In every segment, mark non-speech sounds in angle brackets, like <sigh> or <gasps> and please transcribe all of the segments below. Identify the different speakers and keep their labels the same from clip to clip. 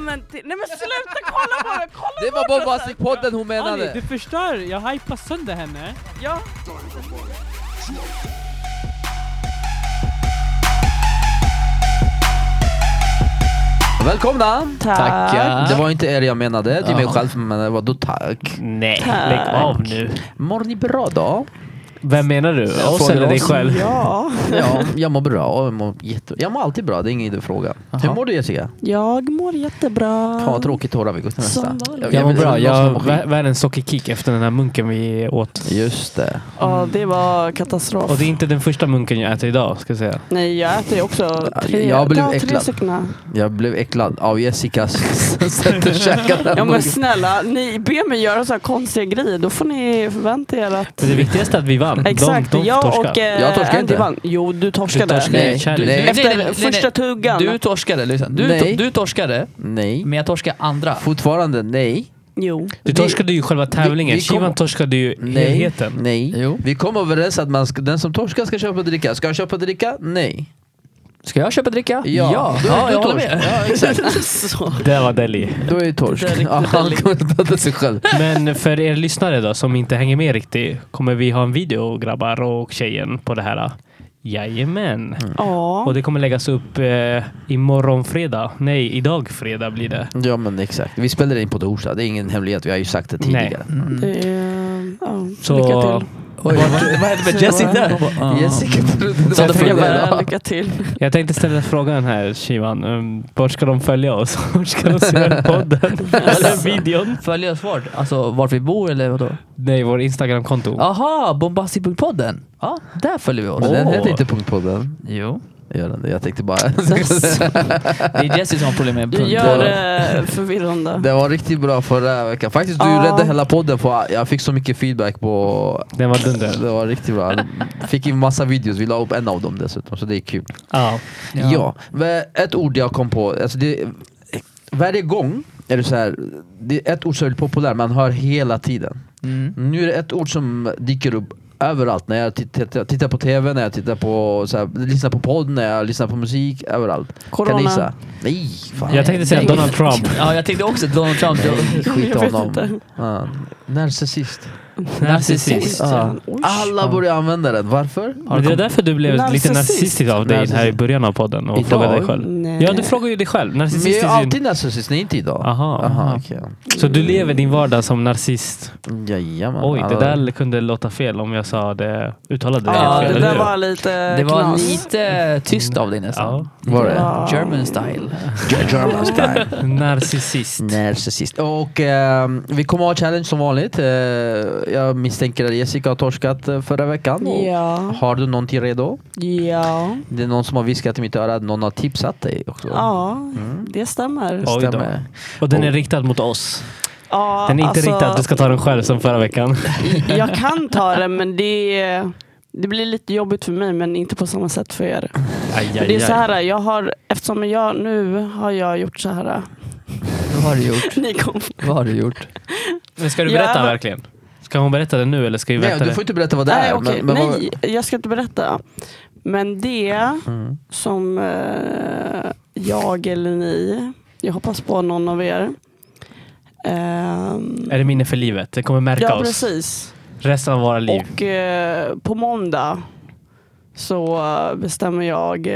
Speaker 1: men till... Nej men sluta kolla på mig! Kolla
Speaker 2: Det var
Speaker 1: bort
Speaker 2: Bombastic-podden hon
Speaker 3: Ali, du
Speaker 2: menade!
Speaker 3: förstör, jag hypar sönder henne.
Speaker 1: oss. Ja.
Speaker 2: Välkomna!
Speaker 4: Tackar.
Speaker 2: Det var inte er jag menade, det är mig
Speaker 4: Ja.
Speaker 2: själv, men vadå tack?
Speaker 4: Nej,
Speaker 1: Tack.
Speaker 4: lägg av nu.
Speaker 2: Mår ni bra då?
Speaker 4: Vem menar du?
Speaker 2: Jag
Speaker 4: Oss
Speaker 2: frågar
Speaker 4: eller dig
Speaker 2: oss.
Speaker 4: själv?
Speaker 1: Ja.
Speaker 2: Ja, jag mår bra. Jag mår, jätte... jag mår alltid bra, det är ingen idé att fråga. Hur
Speaker 4: Jaha.
Speaker 2: mår du Jessica?
Speaker 1: Jag mår jättebra.
Speaker 2: Fan vad tråkigt torra veckor till nästa.
Speaker 1: Som vanligt.
Speaker 4: Jag mår
Speaker 2: vill-
Speaker 4: bra.
Speaker 2: någon som
Speaker 4: Jag
Speaker 2: mår
Speaker 4: har
Speaker 2: skit.
Speaker 4: vär- världens sockerkick efter den här munken vi åt.
Speaker 2: Just det.
Speaker 1: Ja, det var katastrof.
Speaker 4: Och det är inte den första munken jag äter idag, ska jag säga.
Speaker 1: Nej, jag äter ju också tre.
Speaker 2: jag blev
Speaker 1: har tre
Speaker 2: äcklad.
Speaker 1: stycken.
Speaker 2: Jag blev äcklad av Jessicas <laughs> sätt att käka
Speaker 1: Ja
Speaker 2: den
Speaker 1: men
Speaker 2: burgaren.
Speaker 1: snälla, ni ber mig göra så här konstiga grejer. Då får ni förvänta er att...
Speaker 4: Men det viktigaste är att vi vann.
Speaker 1: Exakt,
Speaker 4: de, de
Speaker 1: jag
Speaker 4: torskade.
Speaker 1: och eh,
Speaker 2: Jag torskade
Speaker 1: Andy
Speaker 2: inte.
Speaker 1: vann. Jo, du torskade.
Speaker 4: torskade.
Speaker 2: Nej,
Speaker 4: Nej,
Speaker 2: du,
Speaker 4: nej.
Speaker 2: nej,
Speaker 1: Efter
Speaker 5: Nej, nej, nej,
Speaker 1: första
Speaker 5: nej.
Speaker 1: tuggan.
Speaker 5: Du torskade, lyssna. Du,
Speaker 2: Nej.
Speaker 5: du torskade,
Speaker 2: nej.
Speaker 5: men jag torskade andra.
Speaker 2: Fortfarande nej.
Speaker 1: Jo. <laughs>
Speaker 4: Du torskade ju själva tävlingen.
Speaker 2: vi kom-
Speaker 4: Shivan torskade ju
Speaker 2: Nej.
Speaker 4: helheten.
Speaker 2: nej.
Speaker 5: Jo.
Speaker 2: Vi kom överens att man ska, den som torskar ska köpa och dricka. Ska jag köpa och dricka? Nej.
Speaker 5: Ska jag köpa dricka?
Speaker 2: Ja,
Speaker 5: ja.
Speaker 2: Då är
Speaker 5: ja
Speaker 2: du
Speaker 5: jag håller
Speaker 2: torsk.
Speaker 5: med.
Speaker 2: Ja, exakt.
Speaker 5: <laughs>
Speaker 1: Så.
Speaker 4: Det var Delhi.
Speaker 2: Då är det torsk.
Speaker 1: Det där är
Speaker 2: Ja, han
Speaker 1: riktigt
Speaker 2: kommer att döda sig själv.
Speaker 4: <laughs> Men för er lyssnare då, som inte hänger med riktigt, kommer vi ha en video, grabbar och tjejen, på det här. Jajamän.
Speaker 1: Ja.
Speaker 4: Och det kommer läggas upp eh, imorgon fredag. Nej, idag fredag blir det.
Speaker 2: Ja men exakt. Vi spelar in på torsdag. Det är ingen hemlighet. Vi har ju sagt det tidigare.
Speaker 5: Mm.
Speaker 1: Det är, Eh, ja.
Speaker 4: Så-
Speaker 1: Lycka till.
Speaker 5: Oj, vad, vad hände med Jessica?
Speaker 2: Jessica trodde det
Speaker 5: Så
Speaker 2: var
Speaker 5: det
Speaker 1: Jag
Speaker 2: fredag.
Speaker 1: bara,
Speaker 5: Ja.
Speaker 1: lycka till.
Speaker 4: Jag tänkte ställa frågan här, Shivan. Um, vart ska de följa oss? <laughs> Vart ska de se den
Speaker 1: <laughs>
Speaker 4: podden? Eller videon?
Speaker 5: Följ oss vart? Alltså vart vi bor eller vadå?
Speaker 4: Nej, vår Instagramkonto.
Speaker 5: Aha, bombastic.podden. Ja, där följer vi oss.
Speaker 2: Men den
Speaker 4: Åh.
Speaker 2: heter inte punktpodden.
Speaker 5: <laughs> Jo.
Speaker 2: Gör den det? Jag tänkte bara... <laughs>
Speaker 5: Det är Jessica som har problem med
Speaker 1: Du
Speaker 5: punkt.
Speaker 1: gör det förvirrande.
Speaker 2: Det var riktigt bra förra veckan. Faktiskt, du
Speaker 1: Ja.
Speaker 2: räddade hela podden. På, jag fick så mycket feedback på...
Speaker 4: Den var dunder.
Speaker 2: Det var riktigt bra. Fick in massa videos. Vi la upp en av dem dessutom, så det är kul.
Speaker 4: Ja.
Speaker 2: Ja, men ett ord jag kom på. Alltså det, varje gång är det så här. Det är ett ord som är väldigt populärt, man hör hela tiden.
Speaker 5: Mm.
Speaker 2: Nu är det ett ord som dyker upp överallt. När jag titt- tittar, tittar på TV, när jag tittar på, så här, lyssnar på podd, när jag lyssnar på musik, överallt. Kan ni gissa?
Speaker 1: Corona.
Speaker 2: Nej! Fan.
Speaker 4: Jag tänkte säga Donald Trump.
Speaker 5: Ja, jag tänkte också Donald Trump.
Speaker 2: Skit
Speaker 1: Jag vet
Speaker 2: honom.
Speaker 1: inte.
Speaker 2: Ja, narcissist.
Speaker 4: Narcissist.
Speaker 2: Ja.
Speaker 1: Oj.
Speaker 2: Alla börjar använda den. Varför?
Speaker 4: Men det är därför du blev lite
Speaker 1: Narcissist.
Speaker 4: narcissistisk av dig här i
Speaker 2: Narcissist.
Speaker 4: början av podden och
Speaker 2: Idag?
Speaker 4: frågade dig själv.
Speaker 1: Nej.
Speaker 4: Ja, du frågar ju dig själv.
Speaker 2: Men jag
Speaker 4: Narcissist
Speaker 2: är
Speaker 4: är ju...
Speaker 2: alltid narcissist, nej inte idag.
Speaker 4: Aha.
Speaker 2: Aha, okej.
Speaker 4: Så du lever din vardag som narcissist?
Speaker 2: Jajamän. Alltså,
Speaker 4: Oj, det
Speaker 2: Alla-
Speaker 4: där kunde låta fel om jag sa det, uttalade det
Speaker 1: Ja,
Speaker 4: helt
Speaker 1: det
Speaker 4: fel.
Speaker 1: där
Speaker 4: eller hur?
Speaker 1: var lite
Speaker 5: Det var
Speaker 1: knas.
Speaker 5: lite tyst av dig nästan.
Speaker 4: Ja.
Speaker 2: Var det?
Speaker 1: Ja.
Speaker 5: German style.
Speaker 4: <laughs>
Speaker 2: German style.
Speaker 4: Narcissist.
Speaker 2: Narcissist. Och ehm, vi kommer ha challenge som vanligt. Eh, jag misstänker att Jessica har torskat eh, förra veckan. Och
Speaker 1: Ja.
Speaker 2: Har du någonting redo?
Speaker 1: Ja.
Speaker 2: Det är någon som har viskat i mitt öra att någon har tipsat dig också.
Speaker 1: Ja, det stämmer.
Speaker 4: Oj då.
Speaker 2: Stämmer.
Speaker 4: Och den är riktad mot oss.
Speaker 1: Ja,
Speaker 4: Den är inte
Speaker 1: alltså,
Speaker 4: riktad, du ska ta den själv som
Speaker 1: <laughs>
Speaker 4: förra veckan.
Speaker 1: Jag kan ta den men det, det blir lite jobbigt för mig men inte på samma sätt för er.
Speaker 4: Aj,
Speaker 1: Det är så här, jag har, eftersom jag nu har jag gjort så här. <laughs>
Speaker 5: Vad har du gjort?
Speaker 1: Ni kom.
Speaker 5: Vad har du gjort?
Speaker 4: Men ska du
Speaker 1: Ja,
Speaker 4: berätta
Speaker 1: men-
Speaker 4: verkligen? Ska hon berätta det nu eller ska vi
Speaker 2: Nej,
Speaker 4: vänta?
Speaker 2: du får inte berätta vad det
Speaker 1: Nej,
Speaker 2: är.
Speaker 1: okej,
Speaker 2: men- men vad-
Speaker 1: nej, jag ska inte berätta. Men det som eh, jag eller ni, jag hoppas på någon av er. Ehm,
Speaker 4: Är det minne för livet? Det kommer märka
Speaker 1: ja,
Speaker 4: oss
Speaker 1: precis.
Speaker 4: resten av våra liv.
Speaker 1: Och eh, på måndag så eh, bestämmer jag. Eh,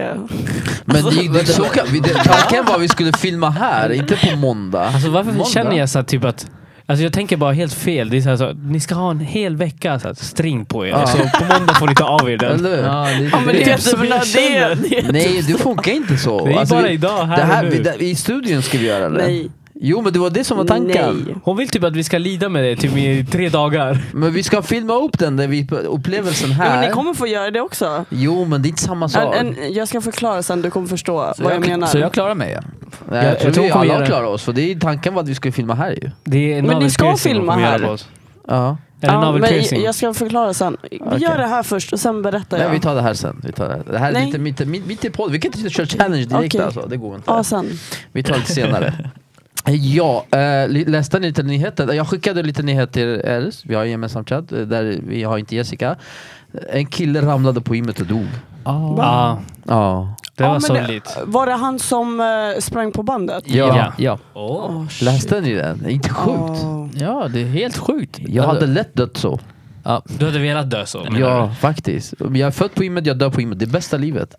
Speaker 2: Men
Speaker 1: <laughs>
Speaker 2: det, det, så kan, vi, det, tanken var att vi skulle filma här, inte på måndag.
Speaker 4: Alltså varför
Speaker 2: Måndag?
Speaker 4: känner jag så här, typ att Alltså jag tänker bara helt fel. Det är så här, så, ni ska ha en hel vecka så här, string på er.
Speaker 2: Ja.
Speaker 4: Så på måndag får ni ta av er den.
Speaker 1: <laughs>
Speaker 2: Eller hur?
Speaker 5: Ja, det,
Speaker 1: ja, men det,
Speaker 4: är
Speaker 1: är
Speaker 4: typ
Speaker 1: <laughs>
Speaker 4: så
Speaker 1: typ
Speaker 4: jag
Speaker 1: det,
Speaker 4: känner.
Speaker 1: det,
Speaker 2: Nej, det funkar inte så.
Speaker 4: Det är
Speaker 2: Alltså,
Speaker 4: bara
Speaker 2: vi-
Speaker 4: idag, här,
Speaker 2: det här,
Speaker 4: och
Speaker 2: vi,
Speaker 4: nu.
Speaker 2: där- I studion ska vi göra det.
Speaker 1: Nej.
Speaker 2: Jo, men det var det som var tanken.
Speaker 1: Nej.
Speaker 4: Hon vill typ att vi ska lida med det typ i tre dagar.
Speaker 2: Men vi ska filma upp den, där vi, upplevelsen
Speaker 1: Jo,
Speaker 2: här.
Speaker 1: ni kommer få göra det också.
Speaker 2: Jo, men det är inte samma sak.
Speaker 1: En, en, jag ska förklara sen, du kommer förstå vad jag, menar.
Speaker 5: Så jag klarar mig. Ja.
Speaker 2: Nej,
Speaker 4: Jag tror
Speaker 2: vi
Speaker 4: hon kommer
Speaker 2: alla
Speaker 4: göra-
Speaker 2: klarar oss, för det är tanken var att vi skulle filma här ju.
Speaker 4: Det är
Speaker 1: Men ni ska
Speaker 4: navelpiercing
Speaker 1: filma
Speaker 4: hon kommer göra
Speaker 1: här.
Speaker 4: på oss.
Speaker 2: Ja.
Speaker 4: Eller
Speaker 1: ja, men jag,
Speaker 4: navelpiercing.
Speaker 1: jag ska förklara sen. Vi gör det här först och sen berättar
Speaker 2: Nej,
Speaker 1: jag.
Speaker 2: vi tar det här sen. Vi tar det, här. det här är
Speaker 1: Nej.
Speaker 2: lite mitt, mitt, mitt i podden. Vi kan inte köra challenge direkt
Speaker 1: Okej.
Speaker 2: alltså, det går inte.
Speaker 1: Ja, sen.
Speaker 2: Vi tar lite senare. <laughs> Ja, eh, li- läste ni lite nyheter? Jag skickade lite nyheter till er. Vi har en gemensam chatt eh, där vi har inte Jessica. En kille ramlade på gymmet och dog.
Speaker 4: Ja.
Speaker 2: Ja.
Speaker 4: Det
Speaker 1: Ja,
Speaker 4: var
Speaker 1: men
Speaker 4: sorgligt.
Speaker 1: Var det han som eh, sprang på bandet?
Speaker 2: Ja,
Speaker 4: Ja.
Speaker 5: Ja.
Speaker 1: Oh,
Speaker 2: läste ni den? Det är Inte sjukt.
Speaker 5: ja, det är helt sjukt.
Speaker 2: Jag hade lätt dött så.
Speaker 5: Ja,
Speaker 4: Du hade velat dö så? menar
Speaker 2: Ja, faktiskt. Jag är född på gymmet, jag dör på gymmet. Det är bästa livet.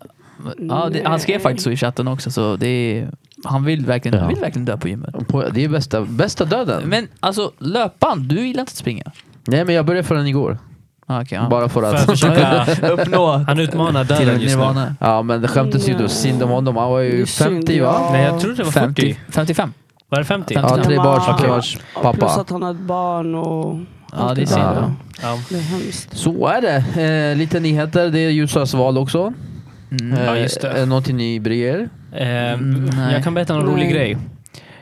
Speaker 5: ja det, han skrev faktiskt så i chatten också, så det är, han vill verkligen,
Speaker 2: Ja.
Speaker 5: vill verkligen dö på gymmet.
Speaker 2: På- Det är bästa, bästa döden.
Speaker 5: Men alltså, löpband, du gillar inte att springa?
Speaker 2: Nej, men jag började förrän igår.
Speaker 5: Ah, okej, ja.
Speaker 2: Bara för
Speaker 4: du? För att
Speaker 2: att...
Speaker 4: försöka <laughs>
Speaker 5: uppnå
Speaker 4: Han utmanar
Speaker 5: till
Speaker 4: döden just nu.
Speaker 5: nirvana.
Speaker 2: <laughs> Ja, men skämt åsido, synd om honom. Han var
Speaker 1: Det är
Speaker 2: ju
Speaker 1: synd,
Speaker 2: 50
Speaker 1: ja.
Speaker 2: va?
Speaker 4: Nej, jag trodde det var
Speaker 5: 50,
Speaker 4: 40.
Speaker 5: 55.
Speaker 4: Var det 50?
Speaker 5: Ja.
Speaker 2: Ja, tre barns
Speaker 1: Mamma.
Speaker 2: tre barns
Speaker 1: Plus
Speaker 2: pappa.
Speaker 1: att han har ett barn och
Speaker 5: Ja, det
Speaker 1: där.
Speaker 5: är synd.
Speaker 2: Ja.
Speaker 4: Ja.
Speaker 1: Det är hemskt.
Speaker 2: Så är det. Eh, lite nyheter. Det är USAs val också.
Speaker 5: Mm.
Speaker 2: Eh,
Speaker 4: Ja, just det.
Speaker 2: eh, Någonting ni bryr er?
Speaker 4: Eh,
Speaker 5: Mm, nej.
Speaker 4: jag kan berätta en rolig
Speaker 1: Nej.
Speaker 4: grej.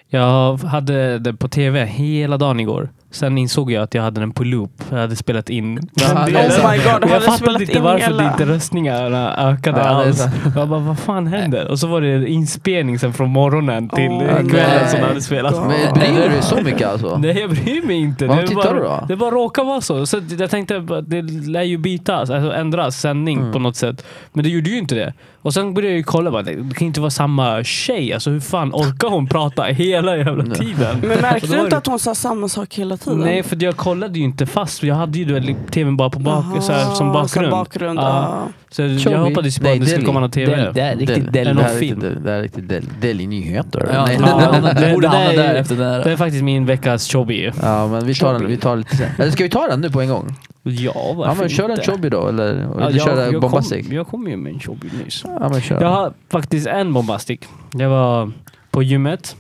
Speaker 4: Jag hade det på tv hela dagen igår. Sen insåg jag att jag hade den på loop. Jag hade
Speaker 1: <laughs>
Speaker 4: spelat in.
Speaker 2: Ja, det är
Speaker 4: jag
Speaker 2: så.
Speaker 1: Oh my God, har du
Speaker 4: jag
Speaker 1: spelat
Speaker 4: fattade inte
Speaker 1: in
Speaker 4: varför
Speaker 1: hela?
Speaker 4: det inte röstningarna ökade
Speaker 2: Ja, det är
Speaker 4: alls.
Speaker 2: så.
Speaker 4: <laughs> Jag bara, vad fan händer? Och så var det inspelning sen från morgonen till
Speaker 1: Åh,
Speaker 4: eh, kvällen
Speaker 2: nej.
Speaker 4: som jag hade spelat.
Speaker 1: God.
Speaker 2: Men bryr du dig så mycket alltså?
Speaker 4: Nej, jag bryr mig inte.
Speaker 2: Vad
Speaker 4: Det är
Speaker 2: tittar
Speaker 4: bara,
Speaker 2: du då?
Speaker 4: Det bara råkar vara så. så jag tänkte att det lär ju bytas, alltså ändras sändning på något sätt. Men det gjorde ju inte det. Och sen började jag ju kolla. Bara, det kan ju inte vara samma tjej. Alltså hur fan orkar hon prata hela jävla tiden?
Speaker 1: <laughs> Men märkte
Speaker 4: Och då
Speaker 1: du
Speaker 4: var
Speaker 1: inte
Speaker 4: det-
Speaker 1: att hon sa samma sak hela tiden?
Speaker 4: Nej, för jag kollade ju inte fast. Jag hade ju då tvn bara på
Speaker 1: Aha,
Speaker 4: bak, så här, som bakgrund.
Speaker 1: bakgrund
Speaker 4: Ja.
Speaker 1: ja.
Speaker 4: Så jag
Speaker 2: Tjovi.
Speaker 4: hoppades på
Speaker 2: Nej,
Speaker 4: att det skulle
Speaker 2: Delhi.
Speaker 4: komma någon tv.
Speaker 5: Delhi, Det är riktigt
Speaker 4: Eller
Speaker 5: Delhi.
Speaker 4: någon
Speaker 2: Det här är
Speaker 4: film.
Speaker 2: riktigt- Det här är riktigt del- Delhi-nyheter.
Speaker 5: <laughs> Ja,
Speaker 2: Nej.
Speaker 4: Ja,
Speaker 5: du
Speaker 4: det-
Speaker 5: borde
Speaker 4: det där
Speaker 5: hamna där
Speaker 4: är-
Speaker 5: efter den
Speaker 4: Det
Speaker 5: här.
Speaker 4: är faktiskt min veckas chobby.
Speaker 2: Ja men vi tar den, vi tar lite sen. Eller ska vi ta den nu på en gång?
Speaker 4: Ja, varför
Speaker 2: Ja men kör en
Speaker 4: inte?
Speaker 2: Chobby då eller vill
Speaker 4: Ja,
Speaker 2: du köra
Speaker 4: jag, kom,
Speaker 2: Bombastic?
Speaker 4: jag kom ju med en chobby nyss.
Speaker 2: Ja men kör.
Speaker 4: Jag har faktiskt en bombastic. Jag var på gymmet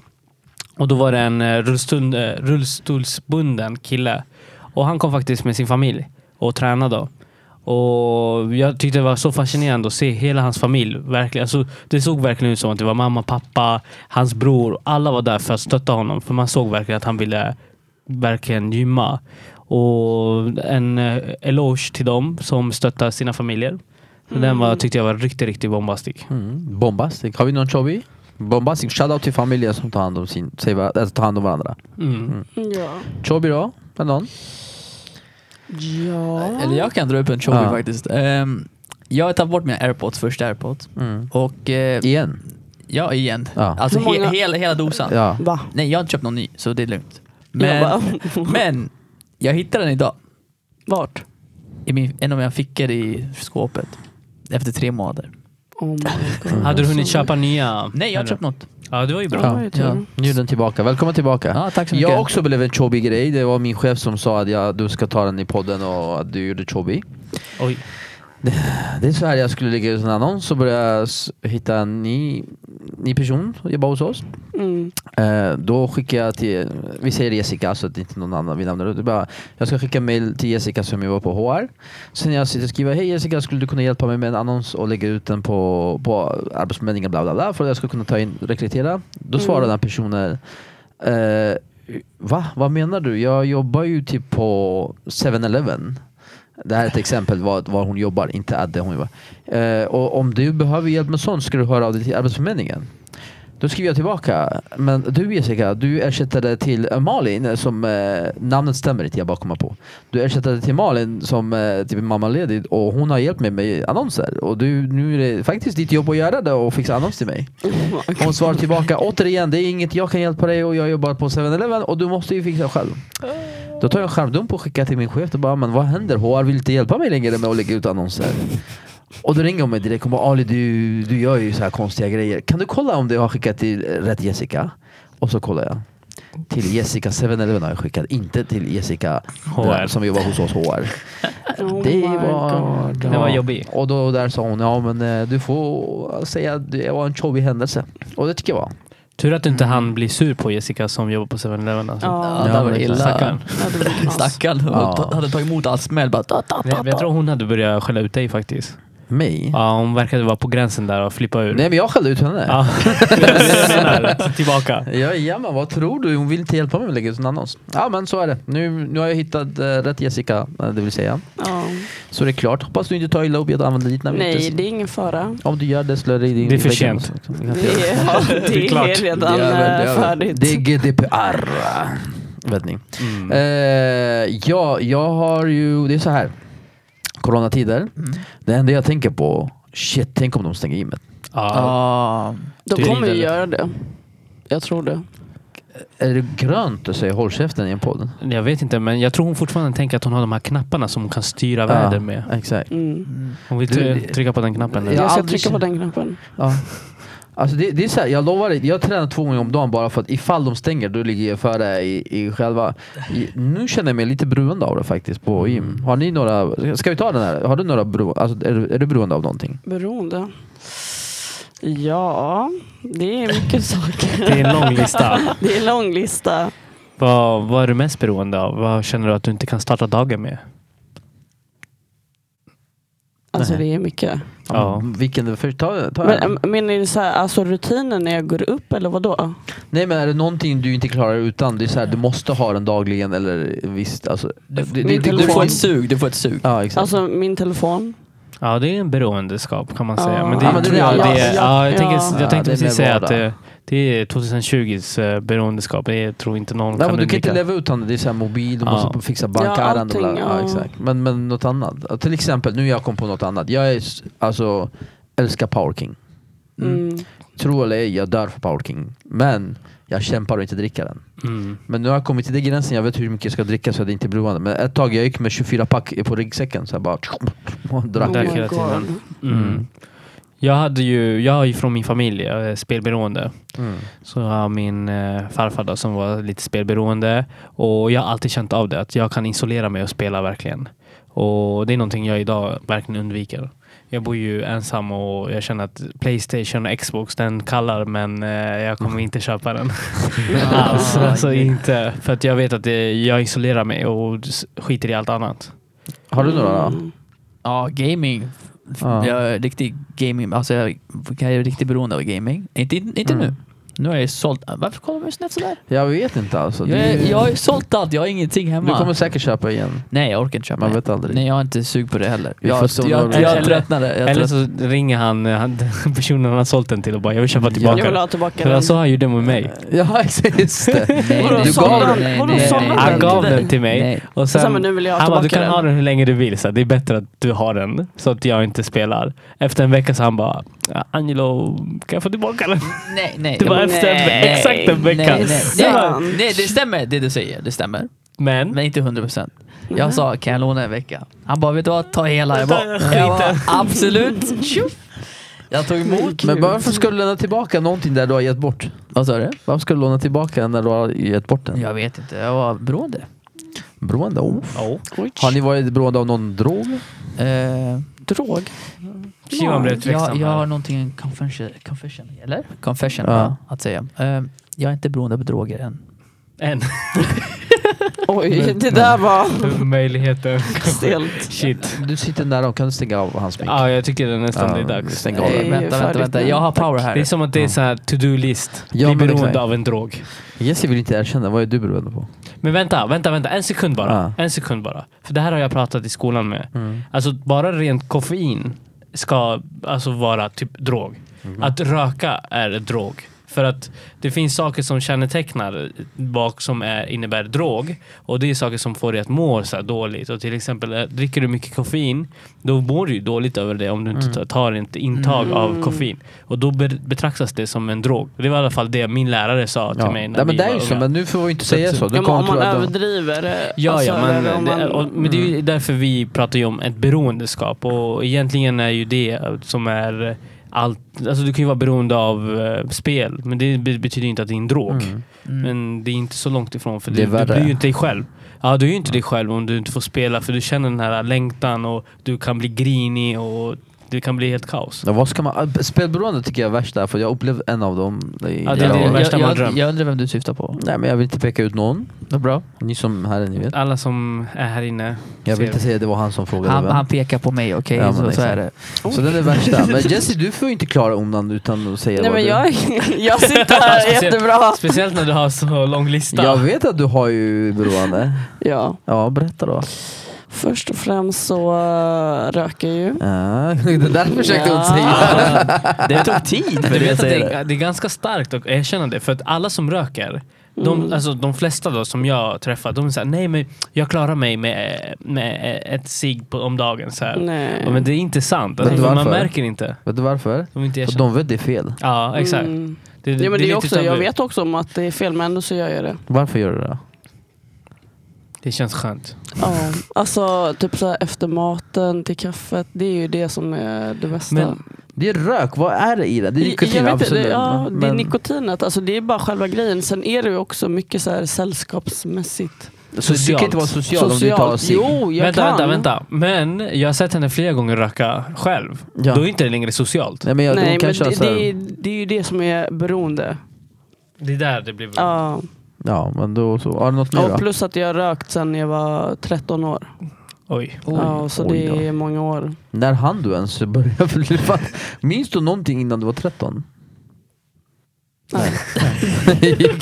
Speaker 4: och då var det en eh, rullstol, eh, rullstolsbunden kille. Och han kom faktiskt med sin familj och tränade. Då. Och jag tyckte det var så fascinerande att se hela hans familj. Verkligen. Alltså, det såg verkligen ut som att det var mamma, pappa, hans bror. Alla var där för att stötta honom. För man såg verkligen att han ville verkligen gymma. Och en eh, eloge till dem som stöttar sina familjer. Så Den var, tyckte jag var riktigt, riktigt bombastisk.
Speaker 2: Mm. Bombastic. Har vi någon Chobby? Bombastic. Shoutout till familjen som tar hand om, sin, sig var, alltså, tar hand om varandra.
Speaker 4: Mm.
Speaker 1: Ja.
Speaker 2: Chobby då? Är någon?
Speaker 1: ja.
Speaker 5: Eller jag kan dra upp en chobby
Speaker 2: Ja.
Speaker 5: faktiskt. Ehm, jag har tagit bort mina airpods, första airpods. Och eh,
Speaker 2: Mm. Igen?
Speaker 5: ja, igen.
Speaker 2: Ja.
Speaker 5: Alltså
Speaker 1: Hur många-
Speaker 5: he, hela, hela dosan.
Speaker 2: Ja.
Speaker 1: Va?
Speaker 5: Nej, jag har inte köpt någon ny, så det är lugnt.
Speaker 1: Men,
Speaker 5: Men, <laughs> men jag hittade den idag.
Speaker 1: Vart?
Speaker 5: I min, en av mina fickor i skåpet. Efter tre månader.
Speaker 1: Oh my God.
Speaker 4: Hade du hunnit köpa nya?
Speaker 5: Nej, jag har inte köpt något.
Speaker 4: Ja, det var ju bra.
Speaker 1: Ja, det var ju tur.
Speaker 5: Ja.
Speaker 2: Nu är den tillbaka. Välkommen tillbaka.
Speaker 5: Ja, tack så mycket.
Speaker 2: Jag också blev en Chobby grej. Det var min chef som sa att jag, du ska ta den i podden och att du gjorde Chobby.
Speaker 4: Oj.
Speaker 2: Det är så här jag skulle lägga ut en annons och börja s- hitta en ny, ny person som jobbar hos oss.
Speaker 1: Mm.
Speaker 2: Eh, då skickar jag till, vi säger Jessica så att inte någon annan vi nämner det. Det är bara, Jag ska skicka mail till Jessica som jobbar på HR. Sen jag sitter och skriver, hej Jessica skulle du kunna hjälpa mig med en annons och lägga ut den på, på Arbetsförmedlingen bla bla bla för att jag ska kunna ta in, rekrytera. Då svarar den här personen, eh, va? Vad menar du? Jag jobbar ju typ på 7-Eleven. Det här är ett exempel vad, vad hon jobbar, inte att det hon jobbar. Eh, och om du behöver hjälp med sånt ska du höra av dig till Arbetsförmedlingen. Då skriver jag tillbaka. Men du Jessica, du ersättade till eh, Malin som, eh, namnet stämmer inte, jag bara kommer på. Du ersättade till Malin som eh, typ är mammaledig och hon har hjälpt mig med annonser. Och du, nu är det faktiskt ditt jobb att göra det och fixa annons till mig. Hon svarar tillbaka, återigen det är inget jag kan hjälpa dig och jag jobbar på 7-Eleven och du måste ju fixa själv. Då tar jag en skärmdump och skickar till min chef och bara, men vad händer? HR vill inte hjälpa mig längre med att lägga ut annonser. Och då ringer hon mig direkt och bara, Ali du, du gör ju så här konstiga grejer. Kan du kolla om du har skickat till eh, rätt Jessica? Och så kollar jag. Till Jessica 7-Eleven har jag skickat, inte till Jessica
Speaker 4: HR.
Speaker 2: den här som jobbar hos oss HR.
Speaker 1: Oh
Speaker 2: Det
Speaker 1: my
Speaker 2: var,
Speaker 1: God.
Speaker 4: Det var jobbigt.
Speaker 2: Och då där sa hon, ja men eh, du får säga att det var en jobbig händelse. Och det tycker jag var.
Speaker 4: Tur att du inte han blir sur på Jessica som jobbar på 7-Eleven. Alltså.
Speaker 1: Ja,
Speaker 5: Ja, det
Speaker 2: Ja,
Speaker 5: var
Speaker 2: men
Speaker 5: illa.
Speaker 4: Stackarn.
Speaker 1: ja, det var knas.
Speaker 5: Stackarn.
Speaker 2: Ja.
Speaker 5: Ja. Hade tagit emot all smäll. Bara, ta, ta,
Speaker 4: Nej,
Speaker 5: ta,
Speaker 4: men jag tror
Speaker 5: ta.
Speaker 4: hon hade börjat skälla ut dig faktiskt.
Speaker 2: Mig?
Speaker 4: Ja, hon verkade vara på gränsen där och flippa ur.
Speaker 2: Nej men jag skällde ut henne. <laughs>
Speaker 4: Ja. <laughs> Det är det jag menar. Tillbaka.
Speaker 2: Jajamän, vad tror du? Hon vill inte hjälpa mig med att lägga ut en annons. Ja men så är det. Nu, nu har jag hittat eh, rätt Jessica, eh, det vill säga.
Speaker 1: Ja.
Speaker 2: Så det är klart. Hoppas du inte tar illa upp i att använda ditt namn.
Speaker 1: Nej,
Speaker 2: Inte-
Speaker 1: det är ingen fara.
Speaker 2: Om du gör det slår det i din...
Speaker 4: Det är för
Speaker 2: väggen
Speaker 4: sent.
Speaker 2: också. <laughs>
Speaker 1: Det är, ja, det är,
Speaker 4: Det är klart.
Speaker 1: redan
Speaker 2: Det är väl- det
Speaker 1: eh,
Speaker 2: är väl-
Speaker 1: färdigt.
Speaker 2: Det är GDPR. Vet ni.
Speaker 4: Mm.
Speaker 2: Eh,
Speaker 5: Mm.
Speaker 2: ja, jag har ju... Det är så här. Coronatider. Det enda jag tänker på Shit, tänk om de stänger gymmet.
Speaker 4: Ja.
Speaker 5: Ah.
Speaker 1: De
Speaker 4: Det är
Speaker 1: kommer ju
Speaker 4: vidare.
Speaker 1: göra det. Jag tror det.
Speaker 2: Är det grönt att säga håll käften i en podd?
Speaker 4: Jag vet inte, men jag tror hon fortfarande tänker att hon har de här knapparna som hon kan styra världen med.
Speaker 2: Ja, exakt.
Speaker 1: Mm.
Speaker 4: Hon vill
Speaker 2: Du-
Speaker 4: try- trycka på den knappen. nu.
Speaker 2: Ja.
Speaker 1: Jag ska
Speaker 2: aldrig
Speaker 1: trycka på
Speaker 2: känt-
Speaker 1: den knappen.
Speaker 2: Ja. Alltså det, det är så här, jag lovar dig, jag tränar två gånger om dagen bara för att ifall de stänger då ligger jag före i, i själva... I, nu känner jag mig lite beroende av det faktiskt på gym.
Speaker 4: Mm.
Speaker 2: Har ni några... Ska vi ta den här? Har du några bero, alltså, är, du- är du beroende av någonting?
Speaker 1: Beroende. Ja, det är mycket <laughs> saker.
Speaker 4: <laughs> Det är en lång lista.
Speaker 2: <laughs>
Speaker 1: Det är en lång lista.
Speaker 4: Vad, vad är du mest beroende av? Vad känner du att du inte kan starta dagen med?
Speaker 1: Alltså
Speaker 2: Nej.
Speaker 1: det är mycket.
Speaker 4: Ja.
Speaker 2: Vilken... För, ta, ta
Speaker 1: Men, äm, men är det så här, alltså rutinen när jag går upp eller vad då?
Speaker 2: Nej men är det någonting du inte klarar utan? Det är så här, du måste ha den dagligen eller visst... Alltså, det, det, det,
Speaker 1: min
Speaker 2: det,
Speaker 5: Du får
Speaker 1: telefon.
Speaker 5: ett sug, du får ett sug.
Speaker 2: ja exakt.
Speaker 1: Alltså min telefon.
Speaker 4: ja, det är en beroendeskap kan man
Speaker 1: Ja.
Speaker 4: säga. Men det,
Speaker 2: Ja, men det
Speaker 4: tror
Speaker 2: är
Speaker 4: jag
Speaker 2: alla-
Speaker 4: det är,
Speaker 1: ja,
Speaker 4: ja, jag,
Speaker 1: ja.
Speaker 4: tänker, jag
Speaker 2: Ja, det
Speaker 4: tänkte
Speaker 2: är
Speaker 4: precis
Speaker 2: mer
Speaker 4: säga att
Speaker 2: vardag.
Speaker 4: det, det är 2020s eh, beroendeskap. Det tror inte någon
Speaker 2: Nej,
Speaker 4: kan
Speaker 2: men du kan
Speaker 4: undvika.
Speaker 2: inte leva utan det. Det är så här mobil, du
Speaker 4: Ja.
Speaker 2: måste fixa bankärenden.
Speaker 1: Ja,
Speaker 2: Ja,
Speaker 1: allting,
Speaker 2: ja.
Speaker 1: ja.
Speaker 2: exakt. men, men något annat. Ja, Till exempel, nu jag kom på något annat. Jag är, s- alltså, älskar Power King.
Speaker 1: Mm.
Speaker 2: Tro eller ej, jag dör för Power King. Men jag kämpar och inte dricker den.
Speaker 4: Mm.
Speaker 2: Men nu har jag kommit till den gränsen, jag vet hur mycket jag ska dricka så det inte är beroende. Men ett tag jag gick med 24 pack på ryggsäcken så jag bara <laughs> och drack.
Speaker 4: Där
Speaker 1: Oh my
Speaker 2: ju.
Speaker 4: hela
Speaker 1: God.
Speaker 4: tiden. Mm. Jag hade ju, jag är ju från min familj, jag är spelberoende.
Speaker 2: Mm.
Speaker 4: Så jag har min eh, farfar då, som var lite spelberoende. Och jag har alltid känt av det, att jag kan isolera mig och spela verkligen. Och det är någonting jag idag verkligen undviker. Jag bor ju ensam och jag känner att Playstation och Xbox, den kallar men eh,
Speaker 1: <laughs>
Speaker 4: jag kommer inte köpa den.
Speaker 1: Ah,
Speaker 4: alls. <laughs> Alltså inte. För att jag vet att det, jag isolerar mig och s- skiter i allt annat.
Speaker 2: Har du några då?
Speaker 1: Mm.
Speaker 5: Ja, gaming. F-
Speaker 2: Ja.
Speaker 5: Jag är riktig gaming, alltså jag jag är riktigt beroende av gaming. Inte, inte
Speaker 2: Mm.
Speaker 5: nu. Nu har jag ju sålt, varför kollar du mig snett sådär?
Speaker 2: Jag vet inte alltså.
Speaker 5: Jag,
Speaker 2: Det-
Speaker 5: är, jag har ju sålt allt, jag har ingenting hemma.
Speaker 2: Du kommer säkert köpa igen.
Speaker 5: Nej, jag orkar inte köpa.
Speaker 2: Man
Speaker 5: det.
Speaker 2: vet aldrig.
Speaker 5: Nej, jag har inte sug på det heller.
Speaker 2: Vi
Speaker 5: Jag,
Speaker 2: får se om
Speaker 5: jag,
Speaker 2: du har-
Speaker 5: jag,
Speaker 4: Eller-
Speaker 5: tröttnade. Jag
Speaker 4: Eller
Speaker 5: tröttnade.
Speaker 4: så ringer han, eh, han <laughs> personen han har sålt den till och bara jag vill köpa
Speaker 1: Jag
Speaker 4: tillbaka
Speaker 1: vill
Speaker 4: den.
Speaker 1: ha tillbaka
Speaker 4: För alltså- han
Speaker 1: den.
Speaker 4: så har han gjorde med mig.
Speaker 2: Ja <laughs> exakt, just det.
Speaker 5: Nej,
Speaker 1: Vadå,
Speaker 5: nej,
Speaker 2: du
Speaker 1: sålde
Speaker 2: gav
Speaker 1: han-
Speaker 5: nej,
Speaker 1: vadå,
Speaker 5: nej,
Speaker 1: sålde
Speaker 5: nej,
Speaker 1: han
Speaker 4: Han
Speaker 5: nej.
Speaker 4: gav
Speaker 1: till
Speaker 4: den
Speaker 1: dig?
Speaker 4: till mig.
Speaker 5: Nej.
Speaker 4: Och
Speaker 1: Så sa
Speaker 4: sen,
Speaker 1: man, nu vill jag ha
Speaker 4: han bara, du
Speaker 1: tillbaka
Speaker 4: kan
Speaker 1: den."
Speaker 4: ha den hur länge du vill. Så här, det är bättre att du har den. Så att jag inte spelar. Efter en vecka så han bara, "Ja, Angelo, kan jag få tillbaka den?
Speaker 5: Nej, nej.
Speaker 4: <laughs> Det var
Speaker 5: nej,
Speaker 4: efter en,
Speaker 5: nej,
Speaker 4: exakt en
Speaker 5: nej,
Speaker 4: vecka.
Speaker 5: nej,
Speaker 1: Så
Speaker 5: nej,
Speaker 1: han-
Speaker 5: nej, nej, det stämmer det du säger. Det stämmer.
Speaker 4: Mm. Men,
Speaker 5: Men inte 100 procent. Jag sa, kan jag låna en vecka? Han bara, vet du vad? Ta hela. Jag bara,
Speaker 4: Ta
Speaker 5: jag bara absolut. Tjoff. Jag tog emot.
Speaker 2: Men varför ska du lämna tillbaka någonting där du har gett bort?
Speaker 5: Vad sa du?
Speaker 2: Varför ska du låna tillbaka när du har gett bort den?
Speaker 5: Jag vet inte. Jag var beroende.
Speaker 2: Beroende? Oh.
Speaker 4: oh,
Speaker 2: Har ni varit beroende av någon drog?
Speaker 5: Eh,
Speaker 1: Drog.
Speaker 4: Simon blev
Speaker 5: jag,
Speaker 4: tveksam.
Speaker 5: jag har
Speaker 4: här.
Speaker 5: någonting confession, confession eller? Confession
Speaker 2: Ja.
Speaker 5: va, att säga. Eh, jag är inte beroende av droger än.
Speaker 4: En.
Speaker 1: Oj, det där var
Speaker 4: <laughs> Möjligheten.
Speaker 1: stelt.
Speaker 4: Shit.
Speaker 2: Du sitter nära dem, kan du stänga av hans mick?
Speaker 4: Ja, jag tycker det är nästan
Speaker 2: Ja,
Speaker 4: det är dags.
Speaker 2: Stäng av
Speaker 5: Nej,
Speaker 2: den.
Speaker 1: ju
Speaker 5: Eh, vänta, vänta,
Speaker 1: färdigt
Speaker 5: vänta.
Speaker 1: nu.
Speaker 5: Jag har power här.
Speaker 4: Det är som att det är så här to-do-list.
Speaker 2: Ja,
Speaker 4: Bli
Speaker 2: men
Speaker 4: beroende
Speaker 2: exakt.
Speaker 4: av en drog.
Speaker 2: Jesse vill inte erkänna, vad är du beroende på?
Speaker 4: Men vänta, vänta, vänta. En sekund bara.
Speaker 2: Ja.
Speaker 4: En sekund bara. För det här har jag pratat i skolan med. Alltså bara rent koffein ska alltså vara typ drog.
Speaker 2: Mm.
Speaker 4: Att röka är ett drog. För att det finns saker som kännetecknar vad som är, innebär drog. Och det är saker som får dig att må så här dåligt. Och till exempel eh, dricker du mycket koffein, då mår du ju dåligt över det om du inte
Speaker 2: Mm.
Speaker 4: tar- tar ett intag av koffein. Och då be- betraktas det som en drog. Det var i alla fall det min lärare sa till
Speaker 2: Ja.
Speaker 4: mig när
Speaker 2: Nej, men
Speaker 4: vi
Speaker 2: det är
Speaker 4: var
Speaker 2: ju så,
Speaker 4: unga.
Speaker 2: men nu får vi inte säga så. Du
Speaker 1: Ja, men
Speaker 2: kommer
Speaker 1: om
Speaker 2: tro
Speaker 1: man
Speaker 2: att de-
Speaker 1: överdriver. eh,
Speaker 4: Ja,
Speaker 1: alltså,
Speaker 4: ja men,
Speaker 1: eller om
Speaker 4: det,
Speaker 1: man-
Speaker 4: och, men det är
Speaker 2: Mm.
Speaker 4: ju därför vi pratar ju om ett beroendeskap och egentligen är ju det som är allt. Alltså du kan ju vara beroende av eh, spel, men det be- betyder ju inte att det är en drog.
Speaker 2: Mm.
Speaker 5: Mm.
Speaker 4: Men det är inte så långt ifrån för
Speaker 2: Det
Speaker 4: du,
Speaker 2: är
Speaker 4: du
Speaker 2: värre. Mm.
Speaker 4: blir ju inte dig själv. Ja, du är ju inte dig själv om du inte får spela för du känner den här längtan och du kan bli grinig och det kan bli helt kaos.
Speaker 2: Ja, vad ska man... Spelberoende tycker jag är värst där, för jag upplevde en av dem. i-
Speaker 4: Ja, det är
Speaker 2: jag-
Speaker 4: det
Speaker 5: jag,
Speaker 4: värsta man
Speaker 5: jag, jag,
Speaker 4: drömt.
Speaker 5: jag undrar vem du syftar på.
Speaker 2: Nej men jag vill inte peka ut någon.
Speaker 5: Det är bra.
Speaker 2: Ni som här är, ni vet.
Speaker 4: Alla som är här inne.
Speaker 2: Jag vill
Speaker 4: ser-
Speaker 2: inte säga att det var han som frågade
Speaker 5: Han,
Speaker 2: vem.
Speaker 5: han pekar på mig, okej?
Speaker 2: Ja, men
Speaker 5: så, så
Speaker 2: exakt.
Speaker 5: är det.
Speaker 2: Så den är
Speaker 4: <laughs>
Speaker 2: värsta. Men Jesse du får ju inte klara undan utan att säga
Speaker 1: Nej
Speaker 2: vad
Speaker 1: men
Speaker 2: du...
Speaker 1: jag, jag <laughs> sitter här
Speaker 4: <laughs> Speciellt-
Speaker 1: jättebra.
Speaker 4: Speciellt när du har så lång lista.
Speaker 2: Jag vet att du har ju beroende.
Speaker 1: Ja,
Speaker 2: Ja, berätta då.
Speaker 1: först och främst så eh, röker jag ju.
Speaker 2: Ja, <laughs> det där försökte hon
Speaker 1: Ja.
Speaker 2: säga.
Speaker 5: Det tog tid
Speaker 4: Du
Speaker 5: för
Speaker 4: vet
Speaker 5: det
Speaker 4: att
Speaker 5: säger
Speaker 4: det,
Speaker 5: det.
Speaker 4: är- det är ganska starkt att erkänna det, för att alla som röker De, alltså, de flesta då som jag träffar, de säger nej men jag klarar mig med, eh, med eh, ett cigg på- om dagen. Så här.
Speaker 1: Nej.
Speaker 4: Ja, men det är inte sant. Alltså,
Speaker 2: Vet du
Speaker 4: för man
Speaker 2: varför?
Speaker 4: märker inte.
Speaker 2: Vet du varför?
Speaker 4: De är inte
Speaker 2: För
Speaker 4: erkända.
Speaker 2: de vet det är fel.
Speaker 4: Ja, exakt.
Speaker 1: Mm.
Speaker 4: Det,
Speaker 1: Ja, men det är
Speaker 4: lite
Speaker 1: också,
Speaker 4: tabu.
Speaker 1: jag vet också om att det är fel men ändå så gör jag det.
Speaker 2: Varför gör du det?
Speaker 4: Det känns skönt.
Speaker 1: Ja. Alltså typ så här, efter maten till kaffet, det är ju det som är det bästa.
Speaker 4: Men-
Speaker 2: Det är rök, vad är det i det? Det är
Speaker 1: Jag-
Speaker 2: nikotin,
Speaker 1: jag vet inte,
Speaker 2: absolut.
Speaker 1: det, ja, det är
Speaker 2: Men-
Speaker 1: nikotinet, alltså det är bara själva grejen. Sen är det ju också mycket så här sällskapsmässigt.
Speaker 2: Så du kan inte vara social om du inte har cigg.
Speaker 1: Jo, jag
Speaker 4: vänta,
Speaker 1: kan.
Speaker 4: vänta, vänta. Men jag har sett henne flera gånger röka själv.
Speaker 2: Ja.
Speaker 4: Då är inte det längre socialt.
Speaker 2: Nej men jag,
Speaker 1: Nej,
Speaker 2: de
Speaker 1: men
Speaker 2: kan köra
Speaker 1: det,
Speaker 2: så här-
Speaker 1: det, är, det är ju det som är beroende.
Speaker 4: Det är där det blir
Speaker 1: Ja.
Speaker 2: Ja men då så. Har du något mer
Speaker 1: Ja, och
Speaker 2: då?
Speaker 1: plus att jag har rökt sedan jag var 13 år.
Speaker 4: Oj.
Speaker 1: ja, så
Speaker 2: oj då.
Speaker 1: det är många år.
Speaker 2: När hann du ens börja <laughs> flippa? Minns du någonting innan du var 13?
Speaker 1: Nej.
Speaker 4: <laughs>